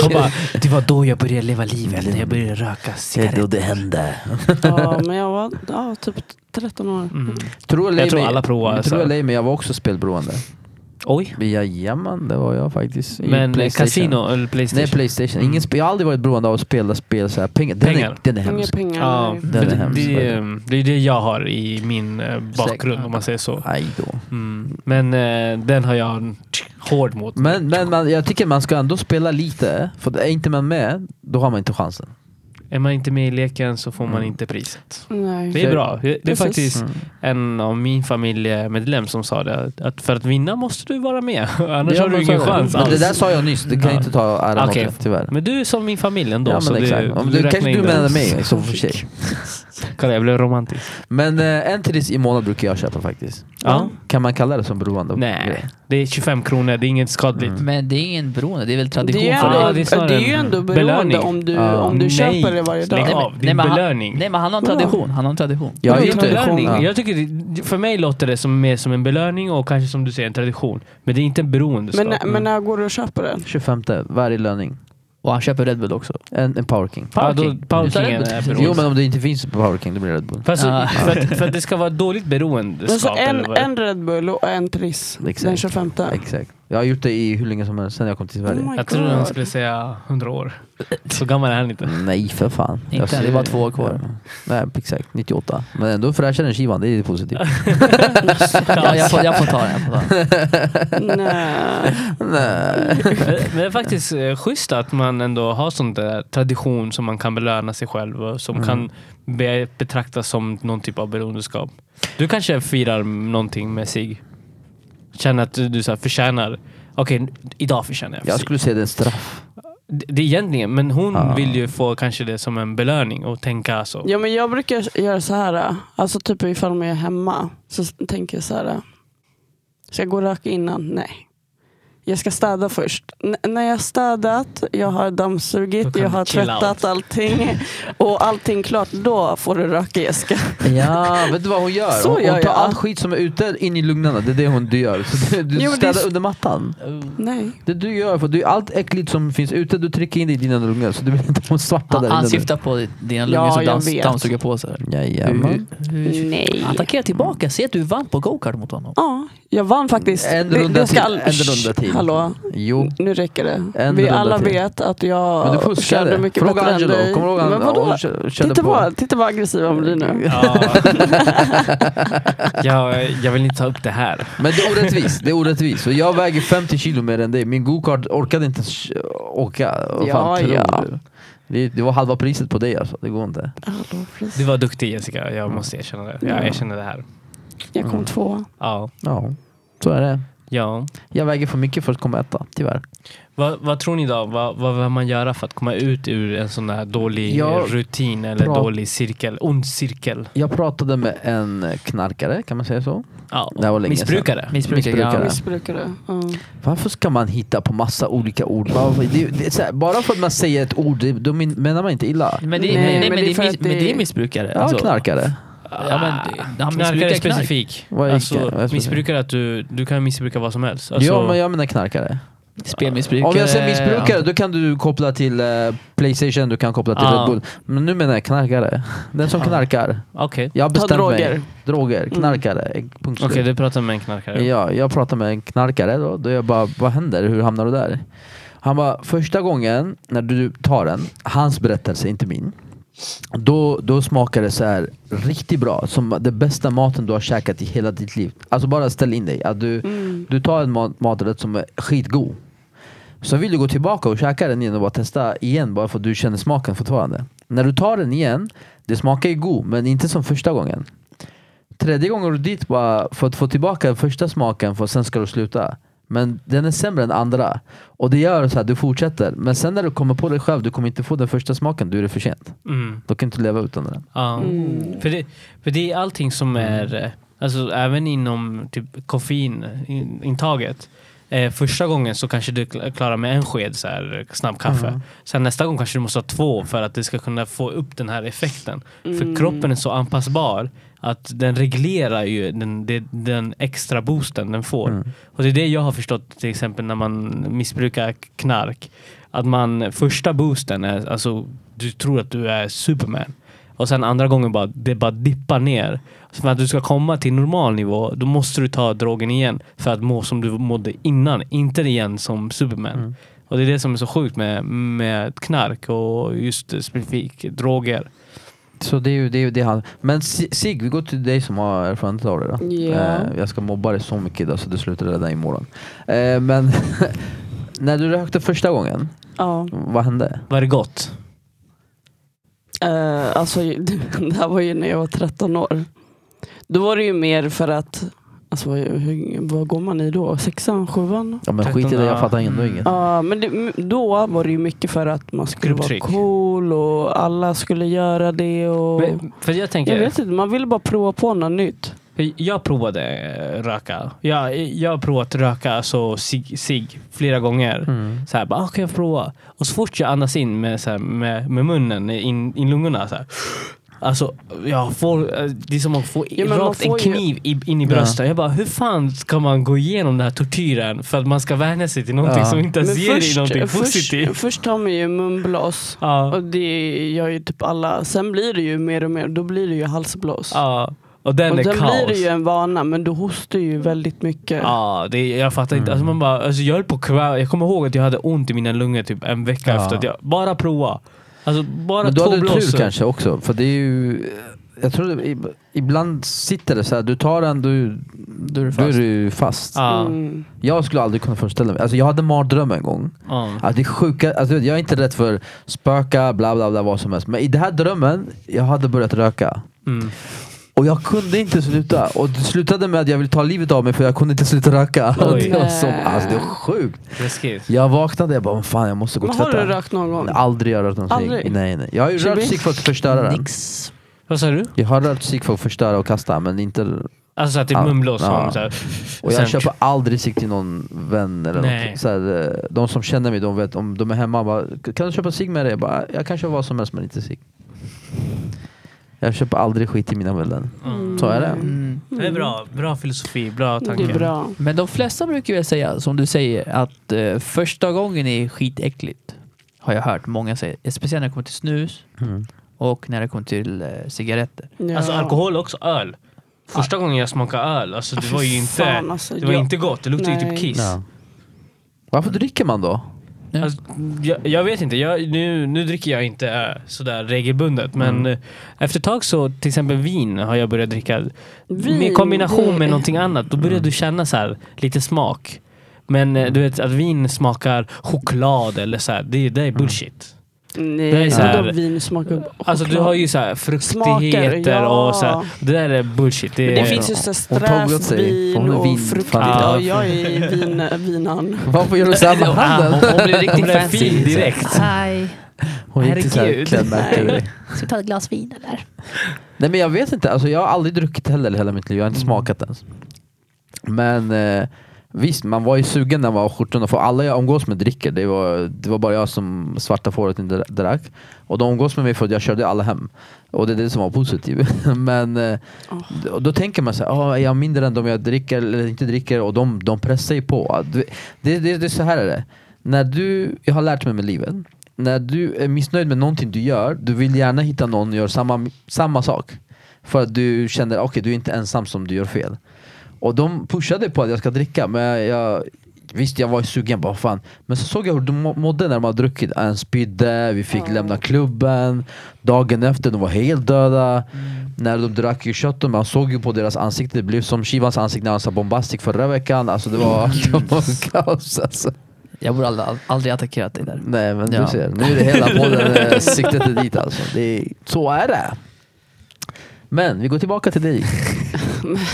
Speaker 4: Hon bara, det var då jag började leva livet. När jag började röka cigaretter.
Speaker 2: det hände.
Speaker 1: Ja, men jag var ja, typ 13 år.
Speaker 4: Mm.
Speaker 2: Tror eller
Speaker 4: Jag
Speaker 2: ej,
Speaker 4: tror
Speaker 2: men-
Speaker 4: alla provar, alltså.
Speaker 2: Jag tror
Speaker 4: så.
Speaker 2: eller ej, men jag var också spelberoende.
Speaker 4: Oj.
Speaker 2: Jajamän, det var jag faktiskt. I
Speaker 4: Men eh,
Speaker 2: PlayStation.
Speaker 4: kasino eller Playstation?
Speaker 2: Nej, Playstation.
Speaker 4: Mm.
Speaker 2: Ingen spe- jag har aldrig varit beroende av att spela spel så här. Pengar. Den
Speaker 4: Pengar.
Speaker 2: är, den är
Speaker 1: Inga
Speaker 2: hemsk.
Speaker 1: pengar.
Speaker 4: Ja,
Speaker 1: nej.
Speaker 2: Den
Speaker 4: för
Speaker 2: är
Speaker 4: det,
Speaker 2: hemsk,
Speaker 4: det,
Speaker 2: verkligen.
Speaker 4: är- eh, det är det jag har i min eh, bakgrund om man säger så.
Speaker 2: Nej då.
Speaker 4: Mm. Men eh, den har jag en hård mot.
Speaker 2: Men, men man, jag tycker man ska ändå spela lite. För är inte man med, då har man inte chansen.
Speaker 4: Är man inte med i leken så får man
Speaker 2: Mm.
Speaker 4: inte priset.
Speaker 1: Nej.
Speaker 4: Det är bra. Det är
Speaker 1: Precis.
Speaker 4: faktiskt
Speaker 2: Mm.
Speaker 4: en av min familjemedlem som sa det. Att för att vinna måste du vara med. <laughs> Annars har du
Speaker 2: men så
Speaker 4: ingen
Speaker 2: är det.
Speaker 4: chans
Speaker 2: Men
Speaker 4: alls.
Speaker 2: det där sa jag nyss, du kan
Speaker 4: Ja.
Speaker 2: inte ta äran åt
Speaker 4: Okej.
Speaker 2: det, tyvärr.
Speaker 4: Men du är som min familj ändå.
Speaker 2: ja
Speaker 4: så
Speaker 2: men
Speaker 4: du,
Speaker 2: exakt. Om du,
Speaker 4: räknar
Speaker 2: kanske
Speaker 4: in
Speaker 2: du
Speaker 4: det.
Speaker 2: menar mig som för sig.
Speaker 4: <laughs> Kolla jag blev romantisk.
Speaker 2: Men eh, en till i månaden brukar jag köpa faktiskt.
Speaker 4: Ja.
Speaker 2: Kan man kalla det som beroende?
Speaker 4: Nej, det är 25 kronor. Det är inget skadligt.
Speaker 5: Men det är ingen beroende, det är väl tradition
Speaker 1: Det är,
Speaker 5: för
Speaker 4: ändå-
Speaker 5: dig?
Speaker 4: Ja,
Speaker 1: ändå,
Speaker 4: det är
Speaker 1: det,
Speaker 4: snarare
Speaker 1: är ju ändå
Speaker 4: en
Speaker 1: beroende
Speaker 4: belöning.
Speaker 1: om du,
Speaker 2: Ja.
Speaker 1: om du
Speaker 4: Nej,
Speaker 1: köper det varje
Speaker 4: Lägg
Speaker 1: dag.
Speaker 4: av, det är
Speaker 5: Nej,
Speaker 4: en
Speaker 5: men han-
Speaker 4: belöning.
Speaker 5: Nej men han har en
Speaker 1: Vadå?
Speaker 5: tradition. Han har en tradition.
Speaker 2: Jag
Speaker 1: Det
Speaker 2: är
Speaker 1: är
Speaker 2: inte
Speaker 1: tradition.
Speaker 4: belöning.
Speaker 2: Ja.
Speaker 4: Jag tycker det, för mig låter det som mer som en belöning och kanske som du säger en tradition. Men det Mm. är inte en beroendeskap.
Speaker 1: Men, men när går du och köper det?
Speaker 2: 25 varje löning.
Speaker 5: Och han köper Red Bull också.
Speaker 2: En, en Power King.
Speaker 4: Ja, då,
Speaker 5: Parking.
Speaker 4: parking
Speaker 5: Mm.
Speaker 4: är beroende.
Speaker 2: Jo men om det inte finns Power King då blir det Red Bull.
Speaker 4: Fast,
Speaker 5: Ah.
Speaker 4: för, att, för att det ska vara ett dåligt
Speaker 1: Men
Speaker 4: beroendeskap.
Speaker 1: så en,
Speaker 4: eller vad det-
Speaker 1: en Red Bull och en Triss
Speaker 2: Exakt.
Speaker 1: den 25.
Speaker 2: Exakt. Jag har gjort det i hur länge som helst sen jag kom till Sverige.
Speaker 1: Oh my
Speaker 4: jag trodde han
Speaker 1: God.
Speaker 4: skulle säga 100 år. Så gammal är han inte.
Speaker 2: Nej för fan.
Speaker 5: Inte
Speaker 2: Jag
Speaker 5: än,
Speaker 2: ser-
Speaker 5: det är bara två år kvar.
Speaker 2: Ja. Nej exakt, 98. Men ändå fräschare än skivan, det är positivt.
Speaker 5: Ja, jag, får, jag får ta den. Jag får ta den.
Speaker 1: Nej.
Speaker 2: Nej.
Speaker 4: Men det är faktiskt eh, schysst att man ändå har sån där tradition som man kan belöna sig själv och som kan be, betraktas som någon typ av beroendeskap. Du kanske firar någonting med sig. Känner att du, du så här förtjänar. Okej, idag förtjänar jag. för
Speaker 2: Jag
Speaker 4: sig.
Speaker 2: skulle säga det är en straff.
Speaker 4: Det det är egentligen, men hon
Speaker 2: Ja.
Speaker 4: vill ju få kanske det som en belöning och tänka så.
Speaker 1: Ja, men jag brukar göra så här. Alltså typ ifall man är hemma så s- tänker jag så här. äh, Ska jag gå och röka innan? Nej. Jag ska städa först. N- när jag har städat, jag har
Speaker 4: Då
Speaker 1: dammsugit,
Speaker 4: kan
Speaker 1: jag
Speaker 4: du
Speaker 1: har
Speaker 4: chilla
Speaker 1: tvättat
Speaker 4: out.
Speaker 1: allting
Speaker 4: <laughs>
Speaker 1: och allting klart, då får du röka Jessica.
Speaker 2: Ja, <laughs> vet du vad hon gör?
Speaker 1: Så
Speaker 2: hon,
Speaker 1: gör
Speaker 2: hon tar
Speaker 1: jag.
Speaker 2: allt skit som är ute in i lugnarna, det är det hon du gör. Så du, du
Speaker 1: Jo, men det är
Speaker 2: städar
Speaker 1: s-
Speaker 2: under mattan.
Speaker 1: Nej.
Speaker 2: Det du gör, för du, allt äckligt som finns ute, du trycker in det i dina lungor så du blir inte de svarta
Speaker 5: Han,
Speaker 2: där
Speaker 5: han
Speaker 2: inne.
Speaker 5: syftar på di- dina lungor
Speaker 1: Ja,
Speaker 5: som
Speaker 1: jag
Speaker 5: dans,
Speaker 1: vet.
Speaker 5: dammsuger på sig.
Speaker 1: Mm.
Speaker 2: Jajamän.
Speaker 1: Nej.
Speaker 5: Attackera tillbaka, se att du vann på go-kart mot honom.
Speaker 1: Ja, jag vann faktiskt.
Speaker 2: En
Speaker 1: Det- det
Speaker 2: runda
Speaker 1: ska
Speaker 2: till,
Speaker 1: all-
Speaker 2: en runda till.
Speaker 1: Hallå,
Speaker 2: Jo.
Speaker 1: nu räcker det.
Speaker 2: En
Speaker 1: Vi
Speaker 2: runda
Speaker 1: alla
Speaker 2: till.
Speaker 1: vet att jag
Speaker 2: Men du fuskade.
Speaker 1: körde mycket
Speaker 2: Fråga
Speaker 1: bättre
Speaker 2: Angelo.
Speaker 1: än dig.
Speaker 2: Kommer du ihåg han-
Speaker 1: Men
Speaker 2: ja,
Speaker 1: vadå?
Speaker 2: hon kö- körde
Speaker 1: Titta
Speaker 2: på?
Speaker 1: vad, titta vad aggressiv han blir nu.
Speaker 4: Ja. <laughs> jag, jag vill inte ta upp det här.
Speaker 2: Men det är orättvist, det är orättvist. Så jag väger 50 kilo mer än dig, min go-kart orkade inte ens kö- åka. Vad
Speaker 1: Ja,
Speaker 2: fan tror
Speaker 1: ja.
Speaker 2: du? Det, det var halva priset på dig alltså, det går inte.
Speaker 1: Hallå, precis.
Speaker 4: Du var duktig Jessica, jag måste erkänna det. Jag erkänner det här.
Speaker 1: Jag kom tvåa.
Speaker 4: Ja.
Speaker 2: Ja, så är det.
Speaker 4: ja.
Speaker 2: Jag väger för mycket för att komma etta, tyvärr.
Speaker 4: Vad, vad tror ni då? Vad, vad behöver man göra för att komma ut ur en sån här dålig
Speaker 2: Ja,
Speaker 4: rutin eller
Speaker 2: bra.
Speaker 4: dålig cirkel? Ond cirkel?
Speaker 2: Jag pratade med en knarkare, kan man säga så?
Speaker 4: Ja.
Speaker 2: Det här var länge sedan.
Speaker 4: Missbrukare?
Speaker 5: Missbrukare.
Speaker 2: Missbrukare.
Speaker 5: Ja.
Speaker 1: Missbrukare. Ja.
Speaker 2: Varför ska man hitta på massa olika ord? Bara för, det, det, är så här, bara för att man säger ett ord, det, då men- menar man inte illa.
Speaker 5: Men det,
Speaker 1: Nej,
Speaker 5: nej, nej,
Speaker 1: men
Speaker 5: men
Speaker 1: det är
Speaker 5: det, är
Speaker 1: för
Speaker 5: miss,
Speaker 1: att
Speaker 5: men
Speaker 1: det-
Speaker 5: det är missbrukare. Alltså,
Speaker 4: Alltså,
Speaker 2: Ja, knarkare.
Speaker 5: Ja, men det, han missbrukar
Speaker 4: Ah, Knarkare
Speaker 5: knark.
Speaker 4: specifik.
Speaker 2: Vad är det? Vad är
Speaker 4: Alltså,
Speaker 2: det?
Speaker 4: missbrukare att du, du kan missbruka vad som helst. Alltså,
Speaker 2: ja, men jag menar knarkare.
Speaker 5: Spelmissbrukare.
Speaker 2: Om jag säger missbrukare, då kan du koppla till eh, Playstation, du kan koppla till
Speaker 4: Ja.
Speaker 2: Red Bull. Men nu menar jag knarkare. Den som knarkar.
Speaker 4: Okej,
Speaker 2: Jag har
Speaker 1: Ta
Speaker 2: bestämt mig.
Speaker 1: droger.
Speaker 2: Droger. Knarkare. Punkt
Speaker 4: Mm. Okej,
Speaker 2: slut.
Speaker 4: du pratar med en knarkare.
Speaker 2: Ja, jag pratade med en knarkare då, då jag bara, vad händer? Hur hamnar du där? Han bara, första gången när du tar den, hans berättelse, inte min. Då, då smakar det så här riktigt bra, som den bästa maten du har käkat i hela ditt liv. Alltså bara ställ in dig. Att du, du tar en mat, maträtt som är skitgod. Så vill du gå tillbaka och käka den igen och bara testa igen bara för att du känner smaken fortfarande. När du tar den igen, det smakar ju god men inte som första gången. Tredje gången du dit bara för att få tillbaka den första smaken för sen ska du sluta. Men den är sämre än andra. Och det gör så att du fortsätter. Men sen när du kommer på dig själv, du kommer inte få den första smaken, då är det för sent.
Speaker 4: Mm.
Speaker 2: Då kan du inte leva utan den.
Speaker 4: Ja. För, det, för det är allting som är, eh, alltså även inom typ koffeinintaget. Eh, första gången så kanske du kla- klarar med en sked så här, eh, snabb kaffe. Sen nästa gång kanske du måste ha två för att det ska kunna få upp den här effekten. För kroppen är så anpassbar att den reglerar ju den, den, den extra boosten den får. Och det är det jag har förstått till exempel när man missbrukar knark. Att man, första boosten är, alltså du tror att du är superman. Och sen andra gången bara, det bara dippar ner. Så för att du ska komma till normal nivå, då måste du ta drogen igen för att må som du mådde innan. Inte igen som Superman.
Speaker 2: Mm.
Speaker 4: Och det är det som är så sjukt med, med knark och just eh, specifikt droger.
Speaker 2: Så det är ju det, är ju det han... Men Si- Sig, vi går till dig som har erfarenhet av det då.
Speaker 1: Ja.
Speaker 2: Eh, jag ska mobba dig så mycket idag så du slutar redan imorgon. Eh, men <laughs> när du rökte första gången,
Speaker 1: Ja.
Speaker 2: vad hände?
Speaker 4: Var det gott?
Speaker 1: Eh, alltså, det här var ju <laughs> när jag var 13 år. Då var det ju mer för att, alltså, vad, hur, vad går man i då? Sexan, sjuan?
Speaker 2: Ja men skit i det, jag fattar ändå inget.
Speaker 1: Ja, men det, m- då var det ju mycket för att man skulle vara
Speaker 4: Grupptryck.
Speaker 1: cool och alla skulle göra det. Och...
Speaker 4: Men, för jag tänker,
Speaker 1: jag
Speaker 4: jag,
Speaker 1: vet inte, man ville bara prova på något nytt.
Speaker 4: jag provade eh, röka. Jag, jag har provat röka, alltså sig, sig flera gånger.
Speaker 1: Mm.
Speaker 4: Så här, bara, ah, kan jag prova? Och så fort jag andas in med, så här, med, med munnen in, in lungorna så här. Alltså, jag får, eh, det är som att få i-
Speaker 1: Ja, men man
Speaker 4: rakt en
Speaker 1: får ju-
Speaker 4: kniv i, in i bröstet. Jag bara, hur fan ska man gå igenom den här tortyren för att man ska vänja sig till någonting
Speaker 2: Ja.
Speaker 4: som inte ens ger dig någonting positivt?
Speaker 1: först, först tar man ju munblås.
Speaker 4: Ja,
Speaker 1: Och det gör ju typ alla. Sen blir det ju mer och mer, då blir det ju halsblås.
Speaker 4: ja, och den
Speaker 1: och
Speaker 4: är
Speaker 1: sen
Speaker 4: kaos.
Speaker 1: blir det ju en vana, men du hostar ju väldigt mycket.
Speaker 4: Ja, det, jag fattar
Speaker 2: Mm.
Speaker 4: inte. Alltså man bara, alltså jag höll på att kväva. Jag kommer ihåg att jag hade ont i mina lungor typ en vecka
Speaker 2: Ja.
Speaker 4: efter att jag bara prova. Alltså bara
Speaker 2: Men du
Speaker 4: två
Speaker 2: hade tur
Speaker 4: blåsor.
Speaker 2: kanske också, för det är ju... Jag tror det, ib- ibland sitter det så här, du tar den, du,
Speaker 5: Då är du
Speaker 2: då är
Speaker 5: fast.
Speaker 2: du fast.
Speaker 4: Ja.
Speaker 1: Mm.
Speaker 2: Jag skulle aldrig kunna föreställa mig. Alltså jag hade en mardröm en gång.
Speaker 4: Ja.
Speaker 1: Mm.
Speaker 2: Alltså det är sjuka, alltså jag är inte rädd för spöka, bla bla bla, vad som helst. Men i den här drömmen, jag hade börjat röka.
Speaker 4: Mm.
Speaker 2: Och jag kunde inte sluta. Och det slutade med att jag ville ta livet av mig för jag kunde inte sluta röka.
Speaker 4: Oj.
Speaker 2: Och det var som,
Speaker 1: Nej.
Speaker 2: alltså det var sjukt.
Speaker 4: Läskigt.
Speaker 2: Jag vaknade jag bara, "Vad fan jag måste gå och
Speaker 1: Men har du
Speaker 2: tvätta.
Speaker 1: rökt någon gång?
Speaker 2: Nej, Aldrig har jag rört någon cigg.
Speaker 1: Aldrig?
Speaker 2: Nej, nej. Jag har ju
Speaker 1: Chibi?
Speaker 2: rört cigg för att förstöra den.
Speaker 5: Nix.
Speaker 4: Vad sa du?
Speaker 2: Jag har rört cigg för att förstöra och kasta men inte...
Speaker 4: Alltså så att det
Speaker 2: Ja.
Speaker 4: är munblås.
Speaker 2: Ja.
Speaker 4: som Så här.
Speaker 2: Och jag
Speaker 4: Sen-
Speaker 2: köper aldrig cigg till någon vän eller
Speaker 4: Nej.
Speaker 2: något. Så här, eh, de som känner mig, de vet om de är hemma bara, kan du köpa cigg med dig? Jag bara, jag kan köpa vad som helst men inte cigg. Jag köper aldrig skit till mina vänner.
Speaker 4: Mm.
Speaker 2: Så är det.
Speaker 5: Mm.
Speaker 4: Det är bra. Bra filosofi. Bra
Speaker 1: Det
Speaker 4: tanke.
Speaker 1: är bra.
Speaker 5: Men de flesta brukar väl säga, som du säger, att eh, första gången är skitäckligt. Har jag hört många säga. Speciellt när det kommer till snus
Speaker 2: Mm.
Speaker 5: och när det kommer till eh, cigaretter.
Speaker 1: Ja.
Speaker 4: Alltså alkohol också. Öl. Första gången jag smakade öl, alltså det
Speaker 1: Fy
Speaker 4: var ju inte,
Speaker 1: fan, alltså,
Speaker 4: det var
Speaker 1: jag-
Speaker 4: inte gott. Det luktade ju typ
Speaker 1: Nej.
Speaker 4: kiss.
Speaker 2: Ja. Varför dricker man <laughs> då?
Speaker 5: Ja.
Speaker 4: Alltså, jag, jag vet inte. Jag, nu, nu dricker jag inte eh, sådär regelbundet. Men
Speaker 1: Mm.
Speaker 4: eh, efter ett tag så, till exempel vin har jag börjat dricka.
Speaker 1: Vin,
Speaker 4: med kombination
Speaker 1: det-
Speaker 4: med någonting annat. Då börjar
Speaker 1: Mm.
Speaker 4: du känna så här, lite smak. Men eh, du vet att vin smakar choklad eller så här, det, det är bullshit.
Speaker 1: Nej,
Speaker 4: Det är så här-
Speaker 1: vadå vin smakar
Speaker 4: Alltså
Speaker 1: Mm.
Speaker 4: du
Speaker 1: choklad?
Speaker 4: har ju så här fruktigheter
Speaker 1: Smaker, ja.
Speaker 4: och så här, Det där är bullshit. Det,
Speaker 1: Men
Speaker 4: är-
Speaker 1: det finns ju så här
Speaker 2: Hon tog åt sig. Hon
Speaker 1: strävvin
Speaker 2: är
Speaker 1: och
Speaker 2: vin-
Speaker 1: fruktigt.
Speaker 2: fan.
Speaker 1: Ja, jag är vin, vinan.
Speaker 2: Varför gör du så här med
Speaker 5: Ah, hon,
Speaker 2: handen?
Speaker 5: <laughs> hon blir riktigt
Speaker 4: Hon är
Speaker 5: fancy.
Speaker 4: fin direkt.
Speaker 6: Aj.
Speaker 2: Hon gick till såhär
Speaker 4: Herregud.
Speaker 2: klädmärke.
Speaker 6: Ska vi ta ett glas vin eller?
Speaker 2: Nej men jag vet inte, alltså, jag har aldrig druckit heller i hela mitt liv, jag har inte smakat ens. Men eh, visst, man var ju sugen när man var 17 för alla jag umgås med dricker. Det var, det var bara jag som svarta fåret inte drack. Och de umgås med mig för att jag körde alla hem. Och det är det som var positivt. <laughs> men eh, då, då tänker man såhär, oh, är jag mindre än dem jag dricker eller inte dricker? Och de, de pressar ju på. Att Det, det, det, det är så här är det. När du, jag har lärt mig med livet, när du är missnöjd med någonting du gör, du vill gärna hitta någon som gör samma, samma sak. För att du känner, okej du är inte ensam som du gör fel. Och de pushade på att jag ska dricka men jag, Visst jag var sugen bara fan Men så såg jag hur de må- mådde när de hade druckit En spydde, vi fick lämna klubben Dagen efter de var helt döda När de drack ju kött man såg ju på deras ansikte Det blev som Shivans ansikte när han sa bombastic förra veckan Alltså det var, <laughs> det var kaos alltså.
Speaker 5: Jag borde aldrig, aldrig attackerat dig där.
Speaker 2: Nej men du
Speaker 5: Ja.
Speaker 2: ser, nu är det hela podden eh, siktet är dit alltså det är, Så är det Men vi går tillbaka till dig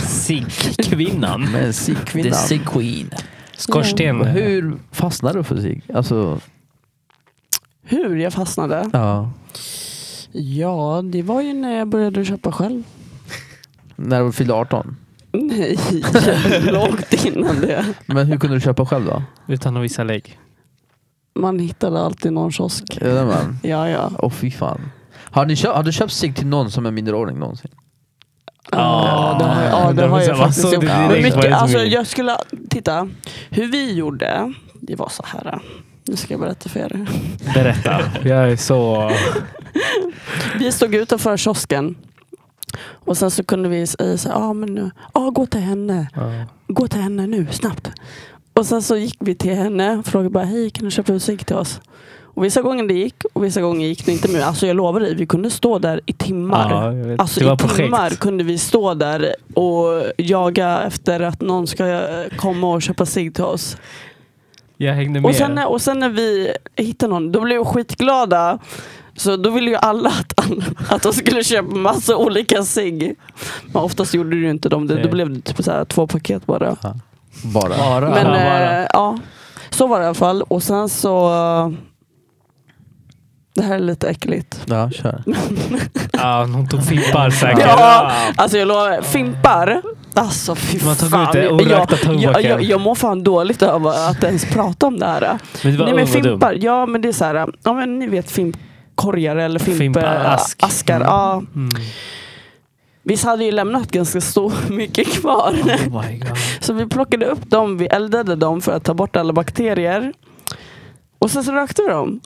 Speaker 4: Sigg-kvinnan.
Speaker 2: Men
Speaker 5: The
Speaker 2: Sigkvinnan
Speaker 5: Sig Queen.
Speaker 4: <laughs> Skorsten.
Speaker 1: Mm.
Speaker 2: Och Hur fastnar du för sig? Alltså,
Speaker 1: Hur jag fastnade?
Speaker 2: ja.
Speaker 1: Ja, det var ju när jag började köpa själv.
Speaker 2: När du fyllde 18?
Speaker 1: Nej, <laughs> långt innan det.
Speaker 2: Men hur kunde du köpa själv då?
Speaker 4: Utan att visa lägg.
Speaker 1: Man hittade alltid någon kiosk.
Speaker 2: Är det man?
Speaker 1: Ja, ja.
Speaker 2: Åh fy fan. Har, ni köpt, har du köpt sig till någon som är minderårig någonsin?
Speaker 1: Ja, det har jag, ja, det har jag faktiskt gjort. Men mycket, alltså, jag skulle, titta, hur vi gjorde, det var så här. Nu ska jag berätta för er.
Speaker 4: Berätta. Jag är så...
Speaker 1: Vi stod utanför kiosken. Och sen så kunde vi säga, ja ah, men nu, ah, gå till henne, gå till henne nu, snabbt. Och sen så gick vi till henne och frågade bara, hej kan du köpa ut cigg till oss? Och vissa gånger det gick och vissa gånger gick det inte. Men alltså jag lovar dig, vi kunde stå där i timmar.
Speaker 4: Ja, jag vet.
Speaker 1: Alltså
Speaker 4: det var
Speaker 1: i timmar
Speaker 4: projekt.
Speaker 1: kunde vi stå där och jaga efter att någon ska komma och köpa sig till oss.
Speaker 4: Jag hängde med.
Speaker 1: Och sen, när- och sen när vi hittade någon, då blev vi skitglada. Så då ville ju alla att, att de skulle köpa massa olika sig. Men oftast gjorde du ju inte dem. Det, då
Speaker 4: Nej.
Speaker 1: blev det typ så här två paket bara.
Speaker 2: Bara?
Speaker 5: Bara.
Speaker 1: Men
Speaker 4: Ja,
Speaker 1: ja,
Speaker 4: bara.
Speaker 1: eh, ja, så var det i alla fall. Och sen så... eh, Det här är lite äckligt.
Speaker 2: Ja, kör.
Speaker 4: <laughs> Ja, hon tog fimpar säkert.
Speaker 1: Ja, alltså jag lovar, fimpar. Alltså fy
Speaker 4: Man tar
Speaker 1: fan.
Speaker 4: ut det och
Speaker 1: jag,
Speaker 4: räknar
Speaker 1: jag,
Speaker 4: tobaken.
Speaker 1: jag, jag mår fan dåligt över att ens prata om det här.
Speaker 4: Men det var,
Speaker 1: Nej men
Speaker 4: vad dum.
Speaker 1: fimpar, ja men det är så här, ja men ni vet fimpkorgar eller
Speaker 4: Fimpar, ask.
Speaker 1: fimpaskar. Ja.
Speaker 4: Mm.
Speaker 1: Visst hade ju lämnat ganska stor, <laughs> mycket kvar.
Speaker 4: Oh my god.
Speaker 1: Så vi plockade upp dem, vi eldade dem för att ta bort alla bakterier. Och sen så rökte vi dem.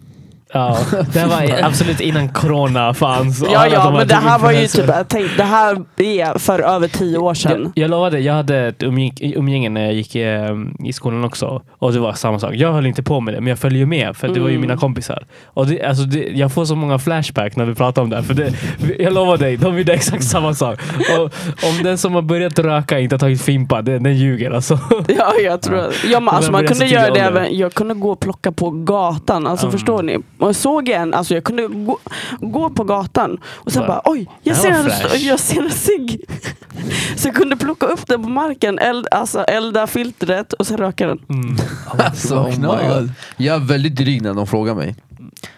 Speaker 4: Ja, det här var absolut innan corona fanns. och
Speaker 1: Ja,
Speaker 4: alla
Speaker 1: ja
Speaker 4: de
Speaker 1: men det här var ju
Speaker 4: influencers.
Speaker 1: typ, tänk, det här är för över tio år sedan.
Speaker 4: Jag, jag lovade, jag hade ett umgäng- umgänge när jag gick eh, i skolan också. Och det var samma sak. Jag höll inte på med det, men jag följde ju med. För det var ju
Speaker 1: Mm.
Speaker 4: mina kompisar. Och det, alltså det, jag får så många flashback när vi pratar om det. här, För det, jag lovar dig, de gjorde exakt samma sak. Och, om den som har börjat röka inte har tagit fimpa, den, den ljuger alltså.
Speaker 1: <laughs> Ja, jag tror att- ja, men alltså,
Speaker 4: Men
Speaker 1: man
Speaker 4: det är
Speaker 1: kunde
Speaker 4: så tidiga
Speaker 1: göra det
Speaker 4: ålder.
Speaker 1: även, jag kunde gå och plocka på gatan, alltså
Speaker 4: Mm.
Speaker 1: förstår ni? Och såg jag en, alltså jag kunde gå, gå på gatan och sen
Speaker 4: Va?
Speaker 1: bara oj, jag
Speaker 4: Det
Speaker 1: ser,
Speaker 4: här
Speaker 1: en,
Speaker 4: var fräsch.
Speaker 1: jag ser en cigg. <laughs> Så jag kunde plocka upp den på marken, eld, alltså elda filtret och sen röka den.
Speaker 4: Mm.
Speaker 2: Alltså, oh my God. Jag är väldigt dryg när de frågar mig.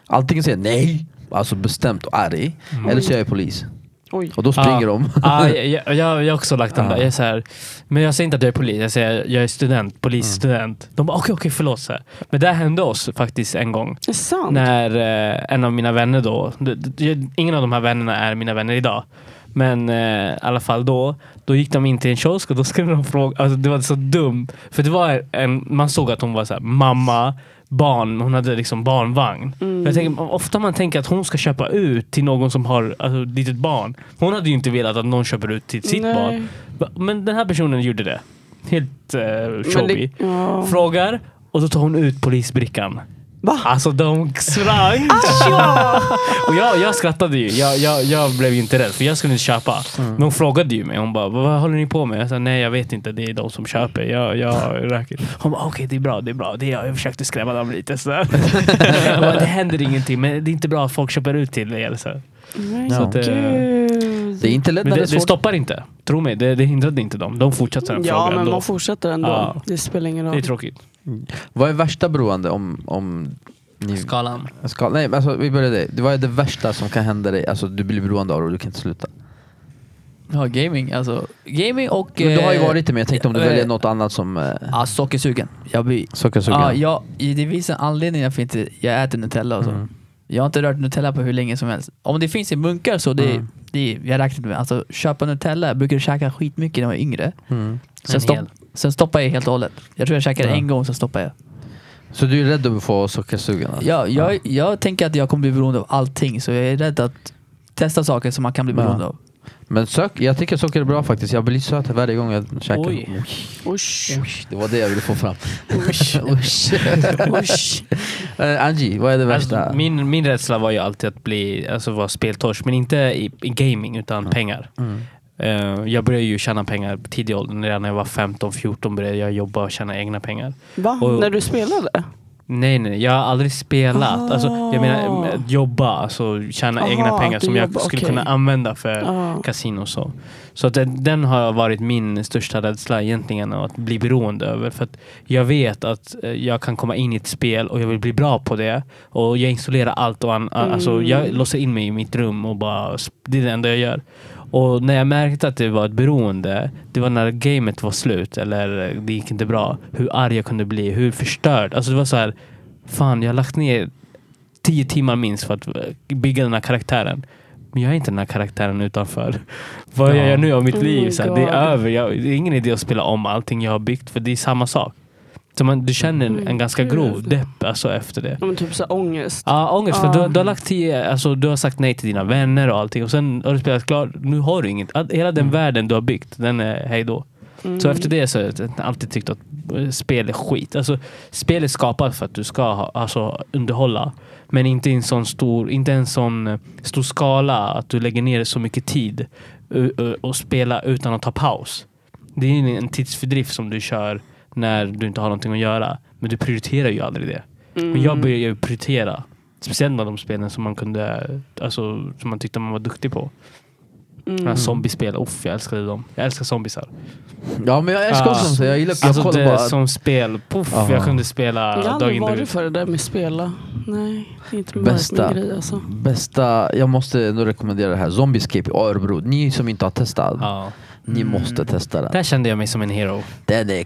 Speaker 2: Antingen säger jag nej, alltså bestämt och arg. Eller så är jag polis.
Speaker 1: Oj.
Speaker 2: Och då springer
Speaker 4: Ah.
Speaker 2: de.
Speaker 4: Ah, jag, jag, jag, jag har också lagt den
Speaker 2: Ja.
Speaker 4: där. Jag är så här, men jag säger inte att jag är polis. Jag säger jag är student, polisstudent.
Speaker 2: Mm.
Speaker 4: De bara okej, okej, förlåt. Så här. Men det här hände oss faktiskt en gång.
Speaker 1: Det är sant.
Speaker 4: När eh, en av mina vänner då, d- d- ingen av de här vännerna är mina vänner idag. Men eh, i alla fall då, då gick de in till en kiosk och då skulle de fråga, alltså det var så dumt. För det var en, man såg att hon var så här, mamma, barn, hon hade liksom barnvagn.
Speaker 1: Mm.
Speaker 4: Jag tänker, ofta man tänker att hon ska köpa ut till någon som har alltså, ett litet barn. Hon hade ju inte velat att någon köper ut till sitt
Speaker 1: Nej.
Speaker 4: barn. Va- Men den här personen gjorde det. Helt eh,
Speaker 1: Men det,
Speaker 4: chobby.
Speaker 1: ja.
Speaker 4: Frågar och då tar hon ut polisbrickan.
Speaker 1: Va? <laughs>
Speaker 4: Alltså de sprang!
Speaker 1: Ah!
Speaker 4: och jag, jag skrattade ju. Jag, jag, jag blev ju inte rädd för jag skulle inte köpa. Men hon frågade ju mig. Hon bara, vad håller ni på med? Jag sa, nej jag vet inte. Det är de som köper. Jag, jag röker. Hon bara, okej det är bra, det är bra. Det är jag. jag försökte skrämma dem lite. Så. jag bara, det händer ingenting men det är inte bra att folk köper ut till er. Så.
Speaker 1: Men
Speaker 2: Ja.
Speaker 4: att, eh,
Speaker 1: gud.
Speaker 2: Det är inte lätt
Speaker 4: Men
Speaker 2: när det är
Speaker 4: det, det
Speaker 2: svårt.
Speaker 4: stoppar inte. Tro mig, det, det hindrade inte dem. De fortsatte sen
Speaker 1: Ja
Speaker 4: fråga
Speaker 1: men
Speaker 4: ändå.
Speaker 1: man fortsätter ändå.
Speaker 4: Ja.
Speaker 1: Det spelar ingen
Speaker 4: Det är
Speaker 1: roll.
Speaker 4: tråkigt.
Speaker 2: Vad är värsta beroende om, om ni...
Speaker 5: Skalan.
Speaker 2: Ska, nej, men alltså, vi börjar det. Det- Vad är det värsta som kan hända dig? Alltså du blir beroende av det och du kan inte sluta.
Speaker 5: Ja, gaming alltså. Gaming och...
Speaker 2: Men du har ju
Speaker 5: eh,
Speaker 2: varit det, men jag tänkte om du
Speaker 5: eh,
Speaker 2: väljer något annat som eh,
Speaker 5: Ja, sockersugen. Jag blir...
Speaker 2: sockersugan.
Speaker 5: Ja, jag, i- det finns en anledning varför inte jag äter Nutella och så.
Speaker 2: Mm.
Speaker 5: Jag har inte rört Nutella på hur länge som helst. Om det finns i munkar så det,
Speaker 2: Mm.
Speaker 5: det jag räknat med. Alltså köpa Nutella, jag brukade käka skitmycket när jag var yngre.
Speaker 2: Mm.
Speaker 5: Sen,
Speaker 4: En
Speaker 5: stopp,
Speaker 4: hel.
Speaker 5: sen stoppade jag helt och hållet. Jag tror jag käkade
Speaker 2: Ja.
Speaker 5: en gång, sen stoppade jag.
Speaker 2: Så du är rädd att få sockersugan? alltså?
Speaker 5: Jag, jag, jag tänker att jag kommer bli beroende av allting så jag är rädd att testa saker som man kan bli
Speaker 2: Ja.
Speaker 5: beroende av.
Speaker 2: Men sök, jag tycker socker är bra faktiskt. Jag blir söt varje gång jag käkar. Mm.
Speaker 4: Oj.
Speaker 1: Usch.
Speaker 2: Det var det jag ville få fram.
Speaker 4: <laughs>
Speaker 2: Usch. Eh, Angie, vad är det värsta?
Speaker 4: Alltså, min, min rädsla var ju alltid att bli, alltså vara speltorsk, men inte i, i gaming utan pengar.
Speaker 2: Mm.
Speaker 4: Eh, jag började ju tjäna pengar tidig ålder, redan när jag var 15-14 började jag jobba och tjäna egna pengar.
Speaker 1: Va?
Speaker 4: Och-
Speaker 1: När du spelade?
Speaker 4: Nej, nej, jag har aldrig spelat.
Speaker 1: Ah.
Speaker 4: Alltså, jag menar eh, jobba, alltså tjäna
Speaker 1: Aha,
Speaker 4: egna pengar
Speaker 1: att du
Speaker 4: som jag
Speaker 1: jobbar,
Speaker 4: skulle
Speaker 1: okej.
Speaker 4: kunna använda för
Speaker 1: Ja.
Speaker 4: kasino och så. Så att den, den har varit min största rädsla egentligen att bli beroende över. För att jag vet att eh, jag kan komma in i ett spel och jag vill bli bra på det. Och jag installerar allt och an, a- alltså, jag låser in mig i mitt rum och bara, sp- det är det enda jag gör. Och när jag märkte att det var ett beroende, det var när gamet var slut eller det gick inte bra. Hur arg jag kunde bli, hur förstörd. Alltså det var så här, fan jag har lagt ner tio timmar minst för att eh, bygga den här karaktären. Men jag är inte den här karaktären utanför. <laughs> Vad
Speaker 5: Ja.
Speaker 4: jag gör nu av mitt
Speaker 1: Oh
Speaker 4: liv,
Speaker 1: my
Speaker 4: så här, det
Speaker 1: God.
Speaker 4: är över. Jag, det är ingen idé att spela om allting jag har byggt för det är samma sak. Så man, du känner en,
Speaker 1: Mm.
Speaker 4: en ganska grov depp alltså, efter det.
Speaker 1: Ja, men typ så här ångest.
Speaker 4: Ja, ångest.
Speaker 1: Ja.
Speaker 4: För du, du, har lagt tio, alltså, du har sagt nej till dina vänner och allting. Och sen har du spelat klart. Nu har du inget. All, hela den världen du har byggt, den är hej då. Så efter det så har jag alltid tyckt att eh, spel är skit. Alltså, spel är skapat för att du ska ha, alltså, underhålla. Men inte i en sån stor, inte en sån eh, stor skala att du lägger ner så mycket tid eh, eh, och spela utan att ta paus. Det är ju en tidsfördrift som du kör när du inte har någonting att göra. Men du prioriterar ju aldrig det. Men
Speaker 2: Mm.
Speaker 1: Mm.
Speaker 4: jag började ju prioritera. Speciellt med de spelen som man kunde, alltså som man tyckte man var duktig på.
Speaker 1: Mm.
Speaker 4: Mm. Zombiespel, uff jag älskade dem. Jag älskar zombisar.
Speaker 2: Ja men jag älskar också
Speaker 4: Ah.
Speaker 2: sånt. Jag gillar jag
Speaker 4: Alltså
Speaker 2: kollar
Speaker 4: det
Speaker 2: bara.
Speaker 4: som spel, puff,
Speaker 2: Aha.
Speaker 4: jag kunde
Speaker 1: Jag
Speaker 4: spela
Speaker 1: har
Speaker 4: dag
Speaker 1: aldrig
Speaker 4: in dag
Speaker 1: varit
Speaker 4: ut.
Speaker 1: för det där med spela. Nej, det är inte
Speaker 2: Bästa.
Speaker 1: min grej alltså.
Speaker 2: Bästa, jag måste ändå rekommendera det här. Zombiescape i Örebro. Ni som inte har testat,
Speaker 4: Ja.
Speaker 2: ni måste testa den.
Speaker 4: Där kände jag mig som en hero.
Speaker 2: Den är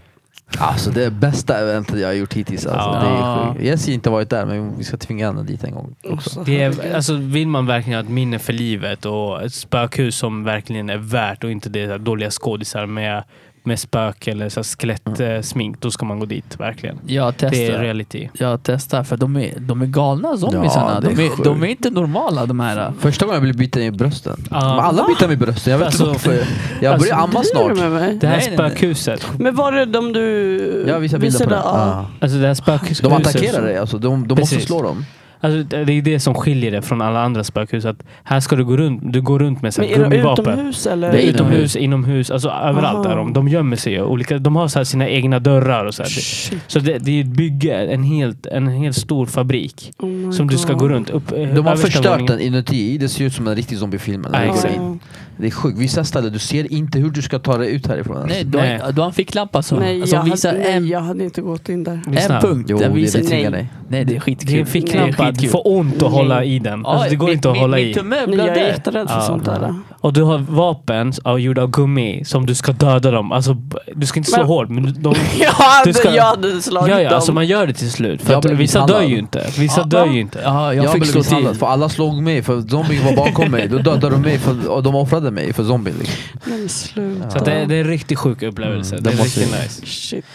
Speaker 2: Alltså det är bästa eventet jag har gjort hittills. Alltså.
Speaker 4: Ja.
Speaker 2: Det är sjukt. Jesse har inte varit där men vi ska tvinga henne dit en gång.
Speaker 1: Så
Speaker 4: Det är,
Speaker 1: herregud.
Speaker 4: alltså, vill man verkligen ha ett minne för livet och ett spökhus som verkligen är värt och inte det där dåliga skådisar med, med spök eller så här skelettsmink, då ska man gå dit verkligen.
Speaker 5: Jag
Speaker 4: Det är
Speaker 5: testar.
Speaker 4: reality.
Speaker 5: Jag testar för de är, de är galna zombisarna.
Speaker 2: Ja, det är
Speaker 5: de, är,
Speaker 2: sjukt.
Speaker 5: de är inte normala de här.
Speaker 2: Första gången jag blev biten i brösten.
Speaker 4: Ja.
Speaker 2: Men alla biter mig i brösten. Jag vet inte
Speaker 4: Alltså,
Speaker 2: varför. Jag börjar
Speaker 1: Driver
Speaker 2: amma
Speaker 1: du
Speaker 2: snart.
Speaker 1: Med mig?
Speaker 4: Det här
Speaker 2: Nej, nej, nej.
Speaker 4: spökhuset.
Speaker 1: Men var det de du
Speaker 2: Jag visar bilder på det.
Speaker 1: Ja.
Speaker 2: Ah.
Speaker 4: Alltså det här spökhuset.
Speaker 2: De attackerar dig alltså. De, de måste
Speaker 4: Precis.
Speaker 2: slå dem.
Speaker 4: Alltså, det det är det som skiljer det från alla andra spökhus. Att här ska du gå runt, du går runt med så
Speaker 1: Men
Speaker 4: här
Speaker 1: är de
Speaker 4: gummivapen.
Speaker 1: utomhus eller?
Speaker 2: Det
Speaker 4: Det
Speaker 2: är
Speaker 4: är
Speaker 2: inomhus.
Speaker 4: utomhus, inomhus, alltså överallt
Speaker 1: Aha.
Speaker 4: är de. De gömmer sig ju. Olika, de har så här sina egna dörrar och så. Här. Det-
Speaker 1: Shit,
Speaker 4: Så det, det är ett bygge, en helt, en helt stor fabrik.
Speaker 1: oh my
Speaker 4: Som du ska
Speaker 1: God.
Speaker 4: gå runt. Upp, eh,
Speaker 2: De har
Speaker 4: översta
Speaker 2: förstört
Speaker 4: våningen.
Speaker 2: den inuti. Det ser ut som en riktig zombiefilm. när
Speaker 4: Ja,
Speaker 2: du går
Speaker 4: exakt.
Speaker 2: in. Det är sjukt. Vissa ställen, du ser inte hur du ska ta dig ut härifrån. alltså. ens.
Speaker 5: Nej, du har,
Speaker 4: Nej.
Speaker 5: du har en ficklampa som,
Speaker 1: Nej, jag
Speaker 4: Alltså,
Speaker 5: som
Speaker 1: hade,
Speaker 5: visar
Speaker 1: nej,
Speaker 5: en,
Speaker 1: jag hade inte gått in där.
Speaker 4: Lyssna.
Speaker 5: en punkt.
Speaker 2: Jo,
Speaker 5: den
Speaker 2: det,
Speaker 5: visar
Speaker 2: det tvingar
Speaker 1: nej.
Speaker 2: dig.
Speaker 5: Nej, det är skitkul.
Speaker 4: Det är en ficklampa. Du får ont att hålla i den. Alltså, det går inte att hålla
Speaker 5: i. Min
Speaker 4: i.
Speaker 5: tumör
Speaker 1: Nej, jag är
Speaker 5: blöder.
Speaker 1: jätterädd för
Speaker 4: Ja.
Speaker 1: sånt där.
Speaker 4: <laughs> Och du har vapen av, gjorda av gummi som du ska döda dem. Alltså, b- du ska inte slå
Speaker 1: Men-
Speaker 4: hårt, men du- de,
Speaker 1: <laughs>
Speaker 4: <laughs>
Speaker 1: Jag hade,
Speaker 4: Du ska-
Speaker 1: jag hade slagit
Speaker 4: Ja, ja, alltså
Speaker 1: dem.
Speaker 4: man gör det till slut. För
Speaker 2: Jag
Speaker 4: att
Speaker 2: blev
Speaker 4: vissa
Speaker 2: misshandlad.
Speaker 4: dör ju inte. Vissa
Speaker 5: Ja,
Speaker 4: dör
Speaker 5: va?
Speaker 4: ju inte.
Speaker 5: Ja, jag,
Speaker 2: Jag,
Speaker 5: fick
Speaker 2: blev
Speaker 5: slå till.
Speaker 2: misshandlad för alla slog mig för zombien var bakom mig. Då dödade de mig för, och de offrade mig för zombien. Liksom.
Speaker 1: Men sluta.
Speaker 4: Så att det, det är en riktigt sjuk upplevelse.
Speaker 2: Mm,
Speaker 4: det,
Speaker 2: det
Speaker 4: är
Speaker 2: måste
Speaker 4: riktigt
Speaker 2: vi-
Speaker 4: nice.
Speaker 1: Shit.